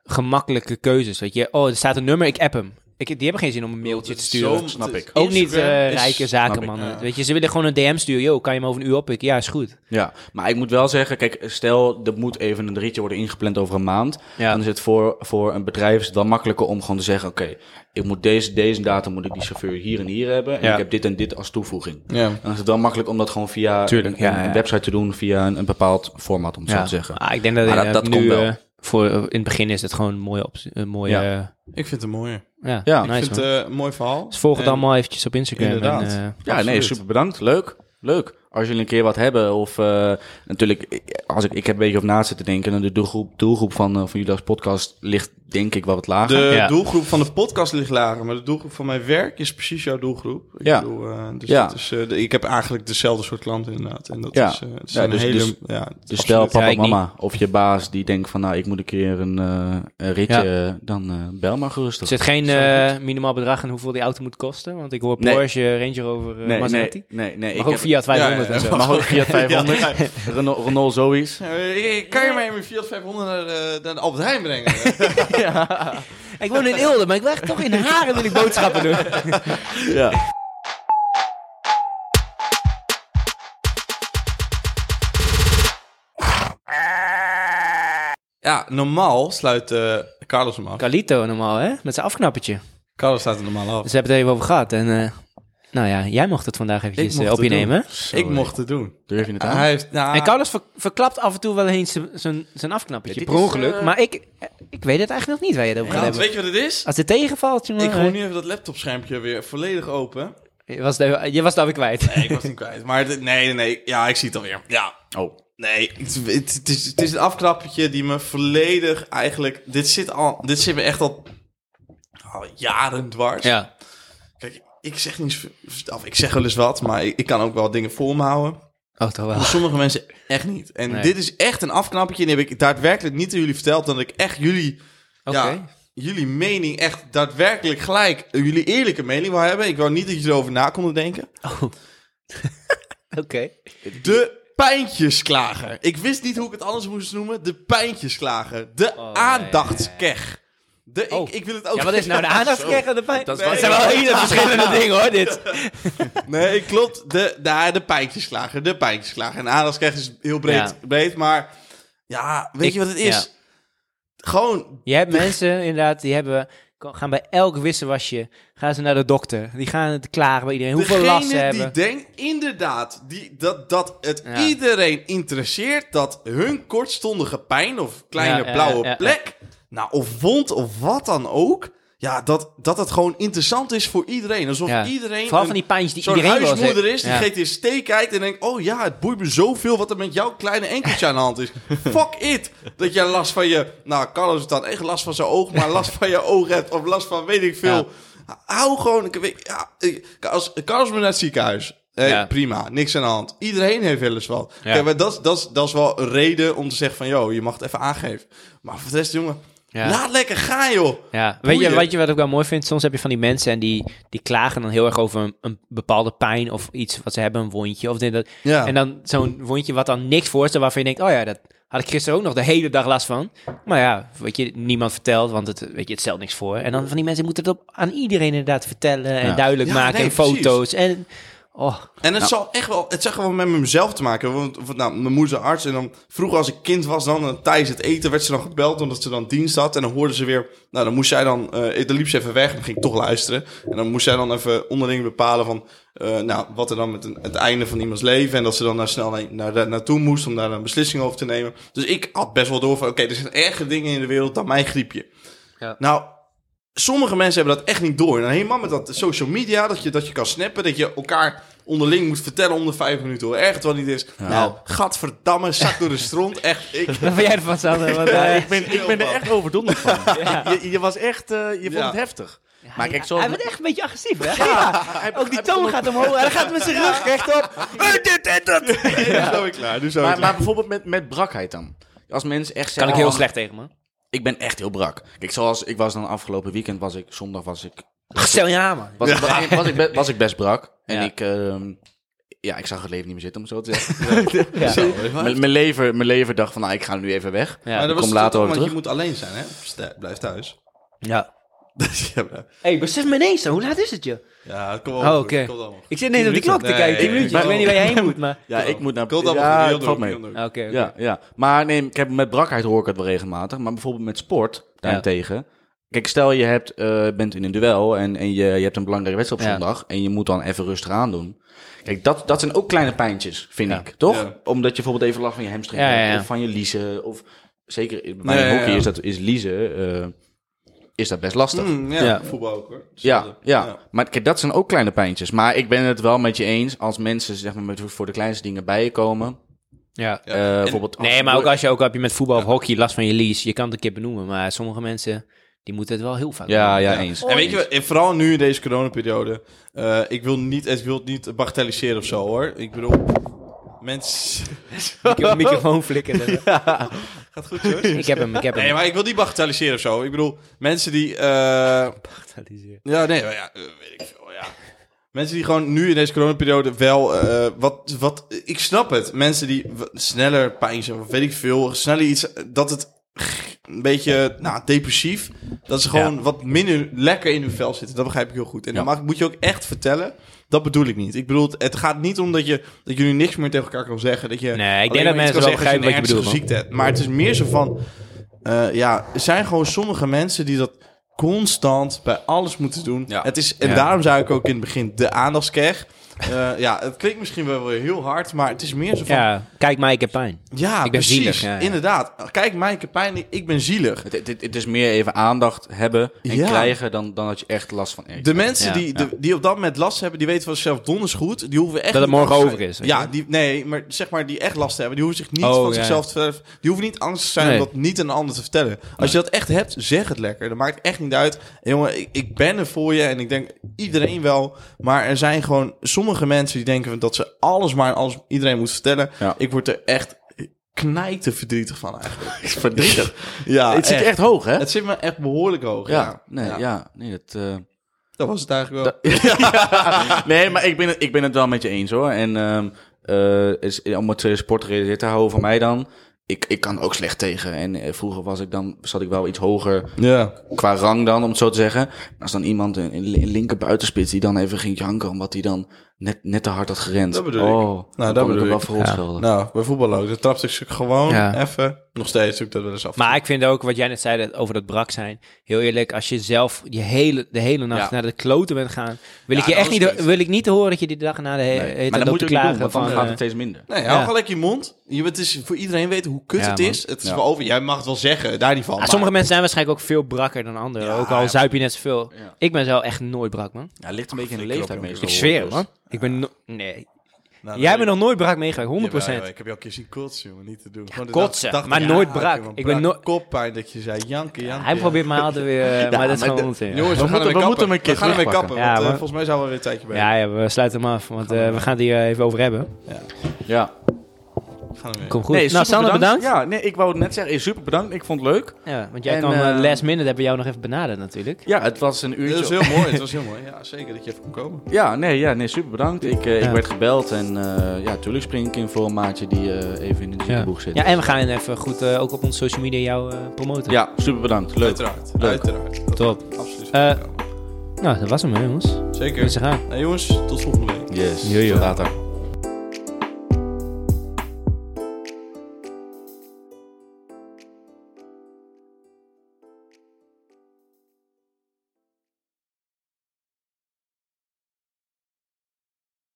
S2: gemakkelijke keuzes. Weet je, oh, er staat een nummer, ik app hem. Ik, die hebben geen zin om een mailtje
S1: Dat
S2: te
S1: is
S2: sturen.
S1: zo-
S3: snap ik.
S2: Ook niet
S1: Instagram
S2: eh,
S1: is-
S2: rijke zakenmannen.
S1: ik, ja.
S2: Weet je, ze willen gewoon een DM sturen. Yo, kan je me over een uur oppikken? Ja, is goed.
S3: Ja, maar ik moet wel zeggen, kijk, stel er moet even een ritje worden ingepland over een maand.
S2: Ja.
S3: Dan is het voor, voor een bedrijf is het wel makkelijker om gewoon te zeggen, oké, ik moet deze, deze datum moet ik die chauffeur hier en hier hebben. En
S2: Ja.
S3: ik heb dit en dit als toevoeging.
S1: Ja.
S3: Dan is het wel makkelijk om dat gewoon via
S2: Tuurlijk,
S3: een,
S2: ja,
S3: een
S2: ja.
S3: website te doen, via een, een bepaald format, om het zo te zeggen.
S2: Ah, ik denk dat,
S3: Maar dat-
S2: eh,
S3: dat
S2: nu,
S3: komt wel.
S2: eh, voor, in het begin is het gewoon een mooie... optie- Een mooie
S3: Ja.
S2: eh,
S1: Ik vind het mooi.
S2: ja,
S3: Ja,
S2: Ah, nice,
S1: ik vind
S2: man.
S1: het eh, een mooi verhaal.
S2: Dus volg het
S1: En-
S2: allemaal eventjes op Instagram.
S1: Inderdaad.
S2: En, eh,
S3: Ja, nee,
S1: Absoluut.
S3: super bedankt. Leuk. Leuk. Als jullie een keer wat hebben, of eh, natuurlijk, als ik, ik heb een beetje op na zitten denken, en de doelgroep, doelgroep van, eh, van jullie als podcast ligt denk ik wel wat lager.
S1: De
S2: Ja.
S1: doelgroep van de podcast ligt lager, maar de doelgroep van mijn werk is precies jouw doelgroep. Ik
S3: Ja.
S1: bedoel, eh, dus
S3: Ja.
S1: dat is, eh, de- ik heb eigenlijk dezelfde soort klanten inderdaad. En dat
S3: Ja.
S1: is, eh, het is
S3: Ja,
S1: een
S3: dus-
S1: hele...
S3: dus-
S1: ja,
S3: Dus stel
S2: Ja,
S3: papa,
S2: ik
S3: mama of je baas die denkt van, nou, ik moet een keer een, eh, een ritje, dan eh, bel maar gerust.
S2: Er
S3: op.
S2: zit geen
S3: Zo
S2: eh,
S3: goed.
S2: minimaal bedrag en hoeveel die auto moet kosten. Want ik hoor
S3: Nee.
S2: Porsche, Range Rover, eh,
S3: nee, nee,
S2: Maserati.
S3: nee, nee.
S2: Mag
S3: ik
S2: ook Fiat 500
S1: Ja,
S2: en
S1: ja,
S2: zo.
S3: Mag ook Fiat 500.
S1: Ja.
S3: Renault, Renault Zoe's.
S1: Eh, eh, Kan je mij in mijn Fiat 500 naar, eh, naar de Albert Heijn brengen?
S2: Ik woon in Eelde, maar ik wil echt toch in Haren wil ik boodschappen doen.
S3: Ja.
S1: ja, normaal sluit eh, Carlos hem af.
S2: Calito normaal, hè? Met zijn afknappertje.
S1: Carlos staat er normaal af.
S2: Dus we hebben het even over gehad. En eh, nou ja, jij mocht het vandaag eventjes
S1: mocht
S2: eh, op je
S1: het doen.
S2: nemen.
S1: Ik mocht het doen.
S3: Durf je het aan?
S1: Hij heeft, nou,
S2: En Carlos ver- verklapt af en toe wel eens zijn- zijn- zijn afknappertje,
S3: Ja,
S2: per
S3: dit is,
S2: ongeluk.
S3: eh,
S2: Maar ik, eh, ik weet het eigenlijk nog niet waar je het over
S1: ja,
S2: gaat
S1: want
S2: hebben.
S1: weet je wat het is?
S2: Als het tegenvalt, jongen. eh,
S1: Ik gooi nu even dat laptopschermpje weer volledig open.
S2: je, was de, je was het alweer kwijt.
S1: Nee, ik was hem kwijt. Maar dit- nee, nee, nee. Ja, ik zie het alweer. Ja.
S3: Oh.
S1: Nee, het, het, het is, het is een afknappetje die me volledig eigenlijk... Dit zit, al, dit zit me echt al, al jaren dwars.
S2: Ja,
S1: Kijk, ik zeg, niet, zoveel- of ik zeg wel eens wat, maar ik, ik kan ook wel dingen voor me houden.
S2: oh toch wel.
S1: Maar sommige mensen echt niet. En
S2: Nee.
S1: dit is echt een afknappetje. En die heb ik daadwerkelijk niet aan jullie verteld. Dat ik echt jullie,
S2: Oké.
S1: ja, jullie mening echt daadwerkelijk gelijk... eh, Jullie eerlijke mening wil hebben. Ik wou niet dat je erover na konden denken.
S2: Oké.
S1: De pijntjesklager. Ik wist niet hoe ik het anders moest noemen. De pijntjesklager. De
S2: Oh,
S1: aandachtskeg. De,
S2: Oh.
S1: ik, ik wil het ook
S2: Ja, wat is nou de aandachtskerk en de pijn?
S3: Dat is
S2: Het
S1: wel-
S2: zijn wel hele verschillende dingen hoor, dit.
S1: Nee, klopt. De, de, de pijntjesklager. De pijntjesklager. En aandachtskeg is heel breed, breed. Maar ja, weet
S2: Ik-
S1: je wat het is? Gewoon
S2: Je hebt mensen inderdaad, die hebben, gaan bij elk wisselwasje, gaan ze naar de dokter. Die gaan het klagen bij iedereen, hoeveel
S1: Degene
S2: last ze hebben.
S1: die denkt inderdaad die, dat, dat het
S2: Ja.
S1: iedereen interesseert dat hun kortstondige pijn of kleine
S2: Ja, ja,
S1: blauwe
S2: ja, ja.
S1: plek, nou of wond of wat dan ook, ja, dat, dat het gewoon interessant is voor iedereen. Alsof
S2: Ja.
S1: iedereen
S2: Vooral
S1: een-
S2: van die pijntjes die
S1: zo'n
S2: iedereen wel eens
S1: huismoeder
S2: heeft.
S1: is, die
S2: Ja.
S1: GTST kijkt en denkt, oh ja, het boeit me zoveel wat er met jouw kleine enkeltje aan de hand is. Fuck it! Dat jij last van je, nou Carlos het dan echt last van zijn oog, maar last van je oog hebt of last van weet ik veel. Hou gewoon, ik weet, ja, ik- als Carlos moet naar het ziekenhuis. Eh,
S2: Ja.
S1: Prima, niks aan de hand. Iedereen heeft wel eens wat.
S2: Ja.
S1: Kijk, maar dat, is- dat, is- dat is wel een reden om te zeggen van... joh, je mag het even aangeven. Maar voor de rest, jongen,
S2: Ja.
S1: laat lekker gaan, joh.
S2: Ja, weet je,
S1: Boeien.
S2: weet je wat ik wel mooi vind? Soms heb je van die mensen en die, die klagen dan heel erg over een, een bepaalde pijn of iets wat ze hebben, een wondje of dit dat.
S1: Ja.
S2: En dan zo'n wondje wat dan niks voorstelt, waarvan je denkt, oh ja, dat had ik gisteren ook nog de hele dag last van. Maar ja, weet je, niemand vertelt, want het, weet je, het stelt niks voor. En dan van die mensen moeten het op, aan iedereen inderdaad vertellen en
S3: Ja.
S2: duidelijk
S1: Ja,
S2: maken
S1: nee,
S2: en foto's. En Oh,
S1: En het, zal echt wel, het zag gewoon met mezelf te maken. hebben, Want, want, nou, mijn moeder is een arts. En dan vroeger als ik kind was dan eh, tijdens het eten werd ze dan gebeld omdat ze dan dienst had. En dan hoorde ze weer... Nou, dan moest zij dan... eh, dan liep ze even weg en dan ging ik toch luisteren. En dan moest zij dan even onderling bepalen van... eh, nou, wat er dan met een- het einde van iemands leven... En dat ze dan daar snel naar, naar, daar naartoe moest om daar een beslissing over te nemen. Dus ik had best wel door van... Oké, er zijn erger dingen in de wereld dan mijn griepje.
S2: Ja.
S1: Nou, sommige mensen hebben dat echt niet door. En helemaal met dat social media, dat je, dat je kan snappen, dat je elkaar onderling moet vertellen om de vijf minuten hoe erg het wel niet is. Nou, gadverdamme, zak door de stront. Echt, ik,
S2: dat vind jij ervan, Sander. Want,
S3: Ja,
S2: eh,
S3: ik, ben, ik ben er echt overdonderd van. Je, je was echt, eh, je vond
S1: Ja.
S3: het heftig. maar kijk, zo...
S2: Hij wordt echt een beetje agressief, hè? Ook die toon gaat omhoog. Hij gaat met zijn rug rechtop.
S3: Eh, dit en dat.
S1: nu zou ik klaar, nu zou ik
S3: Maar,
S1: klaar.
S3: maar bijvoorbeeld met, met brakheid dan. Als mensen echt
S2: Kan
S3: zeggen...
S2: ik heel
S3: oh,
S2: slecht tegen, man.
S3: Ik ben echt heel brak. Kijk, zoals ik was dan afgelopen weekend, was ik, zondag was ik
S2: Stel ja, man.
S3: Was, was, was ik, be- was ik best brak. En
S2: Ja.
S3: ik, ehm, ja, ik zag het leven niet meer zitten, om het zo te zeggen.
S2: Ja.
S3: Mijn- Mijn leven, mijn leven dacht van, nou, ik ga nu even weg.
S1: Maar
S2: Ja.
S1: dat was
S3: kom
S1: het
S3: later
S1: ook,
S3: over
S1: want je moet alleen zijn, hè? Sta- Blijf thuis.
S2: ja.
S1: ja, maar-
S2: hey, besef me ineens, hoe laat is het, je?
S1: ja, kom op.
S2: Oh, oké. Ik zit ineens op die klok te
S1: Nee,
S2: kijken.
S1: nee,
S2: Tien minuutjes.
S1: nee.
S2: Ik weet niet waar je heen moet, maar... Ah,
S3: Ja, ik moet naar...
S1: Komt allemaal
S3: ja,
S1: goed, heel
S3: het valt
S1: druk,
S3: mee.
S1: heel druk.
S2: Oké, oké.
S3: Ja, ja. Maar nee, ik heb, met brakheid hoor ik het wel regelmatig. Maar bijvoorbeeld met sport, daarentegen. Kijk, stel je hebt, eh, bent in een duel en, en je, je hebt een belangrijke wedstrijd op
S2: Ja.
S3: zondag. En je moet dan even rustig aan doen. Kijk, dat, dat zijn ook kleine pijntjes, vind
S2: Ja.
S3: ik. Toch?
S1: Ja.
S3: Omdat je bijvoorbeeld even last van je hamstring
S2: Ja, ja,
S3: hebt,
S2: ja.
S3: Of van je liezen. Of zeker bij
S1: Nee, ja,
S3: hockey
S1: ja.
S3: is, dat, is liezen eh, is dat best lastig.
S1: Mm, ja,
S2: Ja.
S1: voetbal ook, hoor.
S3: Ja, ja,
S1: Ja.
S3: maar kijk, dat zijn ook kleine pijntjes. Maar ik ben het wel met je eens als mensen zeg maar, met, voor de kleinste dingen bij je komen.
S2: Ja.
S1: Ja.
S3: Eh,
S1: En-
S3: bijvoorbeeld als-
S2: Nee, maar ook als je, ook heb je met voetbal of hockey last van je lies, je kan het een keer benoemen. Maar sommige mensen, die moeten het wel heel vaak
S3: Ja, ja,
S1: Ja.
S3: eens.
S1: En weet je, wat, eh, vooral nu in deze coronaperiode. eh, ik wil niet, het wil niet bagatelliseren of zo hoor. Ik bedoel, mensen.
S2: Ik heb een microfoon flikkeren.
S1: Gaat goed, hoor.
S2: Ik heb hem, ik heb hem.
S1: Nee, maar ik wil niet bagatelliseren of zo. Ik bedoel, mensen die. eh, ja, nee, maar ja, eh, weet ik veel. Ja. Mensen die gewoon nu in deze coronaperiode wel. eh, wat, wat, ik snap het. Mensen die w- sneller pijn zijn, of weet ik veel. Sneller iets. Dat het een beetje nou, depressief. Dat ze gewoon wat minder lekker in hun vel zitten. Dat begrijp ik heel goed. En dan
S3: Ja.
S1: mag, moet je ook echt vertellen. Dat bedoel ik niet. Ik bedoel, het gaat niet om dat je dat je nu niks meer tegen elkaar kan zeggen. Dat je
S2: Nee, ik denk
S1: alleen
S2: dat
S1: maar iets
S2: mensen
S1: kan
S2: wel
S1: zeggen als
S2: begrijpen wat je
S1: een ernstige
S2: bedoelt, man.
S1: ziekte hebt. Maar het is meer zo van... eh, ja, er zijn gewoon sommige mensen die dat constant bij alles moeten doen.
S3: Ja.
S1: Het is, en
S2: Ja.
S1: daarom zei ik ook in het begin de aandachtskeg. Eh, ja, het klinkt misschien wel weer heel hard, maar het is meer zo van... Ja,
S2: Ja, kijk maar, ik heb pijn. Ik ben
S1: precies.
S2: zielig, ja, ja.
S1: Inderdaad. Kijk, mij, ik heb pijn, ik- ik ben zielig.
S3: Het, het, het is meer even aandacht hebben en
S1: Ja.
S3: krijgen dan, dan dat je echt last van ergens
S1: De
S3: hebt.
S1: mensen
S2: Ja,
S1: die, de- die op dat moment last hebben, die weten van zichzelf donders goed. Die hoeven echt
S2: Dat het
S1: niet
S2: morgen
S1: angst te
S2: over
S1: zijn.
S2: is, weet
S1: Ja,
S2: je?
S1: die, nee, maar zeg maar die echt last hebben. Die hoeven zich niet
S2: Oh,
S1: van
S2: ja.
S1: zichzelf te Die hoeven niet angst te zijn
S2: Nee.
S1: om dat niet aan een ander te vertellen. Als je dat echt hebt, zeg het lekker. Dat maakt echt niet uit. En jongen, ik, ik ben er voor je en ik denk iedereen wel. Maar er zijn gewoon sommige mensen die denken dat ze alles maar aan alles iedereen moet vertellen.
S3: Ja.
S1: Ik word er echt knijte verdrietig van eigenlijk.
S3: is verdrietig.
S1: Dus- Ja,
S3: het zit
S1: echt.
S3: echt hoog, hè?
S1: Het zit me echt behoorlijk hoog. Ja,
S3: ja, nee, ja. nee, dat, eh,
S1: dat was het eigenlijk wel.
S3: nee, maar ik ben, het, ik ben het wel met je eens, hoor. En ehm, eh, is, om het eh, sportgerelateerd te houden van mij dan... Ik, ik kan er ook slecht tegen. En eh, vroeger was ik dan, zat ik wel iets hoger
S1: ja.
S3: qua rang dan, om het zo te zeggen. Maar Als dan iemand, een, een li- linker buitenspits, die dan even ging janken... omdat hij dan net, net te hard had gerend.
S1: Dat bedoel ik.
S3: oh,
S1: dat
S3: dan kon ik.
S1: bedoel
S3: hem wel
S1: ik.
S3: voor
S2: Ja.
S3: opschelden.
S1: Nou, bij voetbal ook. Dat trapte ik ze gewoon
S2: Ja.
S1: even. Nog steeds doe ik dat wel eens af.
S2: Maar ik vind ook wat jij net zei dat- over dat brak zijn. Heel eerlijk, als je zelf je hele, de hele nacht
S3: Ja.
S2: naar de kloten bent gaan, wil
S1: Ja,
S2: ik je
S1: dat
S2: echt
S1: is
S2: niet,
S1: kut.
S2: wil ik niet horen dat je die dag na de he-
S3: Nee,
S2: hele tijd
S3: Maar dat
S2: loopt
S3: moet je
S2: te
S3: ook niet doen, want
S2: klagen
S3: dan
S2: van.
S3: gaat
S2: eh,
S3: het steeds minder.
S1: Nee,
S2: Ja.
S1: hou gelijk je mond. Je, het is voor iedereen weten hoe kut
S2: Ja,
S1: het
S2: man.
S1: is. Het is
S3: Ja.
S1: wel over. Jij mag het wel zeggen. Daar niet van.
S2: Ah,
S1: maar-
S2: sommige mensen zijn waarschijnlijk ook veel brakker dan anderen.
S1: Ja,
S2: ook al
S1: ja.
S2: zuip je net zoveel.
S3: Ja.
S2: Ik ben zo echt nooit brak, man.
S3: Ja, ligt een beetje in de
S1: ik
S3: leeftijd
S1: klop,
S3: meestal.
S2: Ik zweer
S3: hoor,
S2: het,
S3: dus.
S2: man. Ik ben no- Nee.
S1: Nou,
S2: Jij
S1: dat
S2: bent
S1: weet
S2: nog nooit brak meegegaan, 100%.
S1: ik. Jawel, jawel, ik heb je al een keer zien kotsen, jongen. Niet te doen. Gewoon de
S2: kotsen, maar
S1: ja,
S2: nooit
S1: oké,
S2: brak.
S1: man,
S2: Ik ben
S1: brak,
S2: nooit-
S1: Koppijn dat je zei janken, janken.
S2: Hij probeert me altijd weer, eh, maar dat
S3: maar
S2: is gewoon
S3: de-
S2: onzin.
S1: Jongens, we,
S3: We
S1: gaan ermee
S3: moeten- we
S1: kappen.
S3: moeten hem een keer
S1: We gaan ermee
S3: terugpakken.
S1: kappen.
S2: Ja,
S1: want, eh,
S2: man.
S1: volgens mij zijn we weer een tijdje bezig.
S2: Ja, ja, we sluiten hem af, want eh, we gaan het hier eh, even over hebben.
S3: Ja.
S1: We gaan ermee.
S2: Kom goed. nou, Sander, bedankt.
S3: Ja, nee, ik wou het net zeggen. eh, Super bedankt. Ik vond het leuk.
S2: Ja. want jij
S3: En,
S2: kan eh,
S3: eh,
S2: last minute hebben we jou nog even benaderd natuurlijk.
S3: Ja, het was een uurtje.
S1: Het was heel mooi. Het was heel mooi. Ja, zeker dat je even kon komen.
S3: Ja, nee, ja, nee, super bedankt. Ik, eh,
S2: Ja.
S3: ik werd gebeld en eh, ja, tuurlijk spring ik in voor een maatje die eh, even in de
S2: Ja.
S3: ziekenboeg zit.
S2: ja, en we gaan even goed eh, ook op onze social media jou eh, promoten.
S3: Ja, super bedankt. Leuk.
S1: Uiteraard.
S3: Leuk.
S1: Uiteraard. Dat
S2: Top.
S1: is Absoluut.
S2: Eh, Nou, dat was hem hè, jongens.
S1: zeker.
S2: Rustig aan.
S1: Nou, jongens, tot volgende week.
S3: Yes.
S2: Jojo.
S3: Tot later.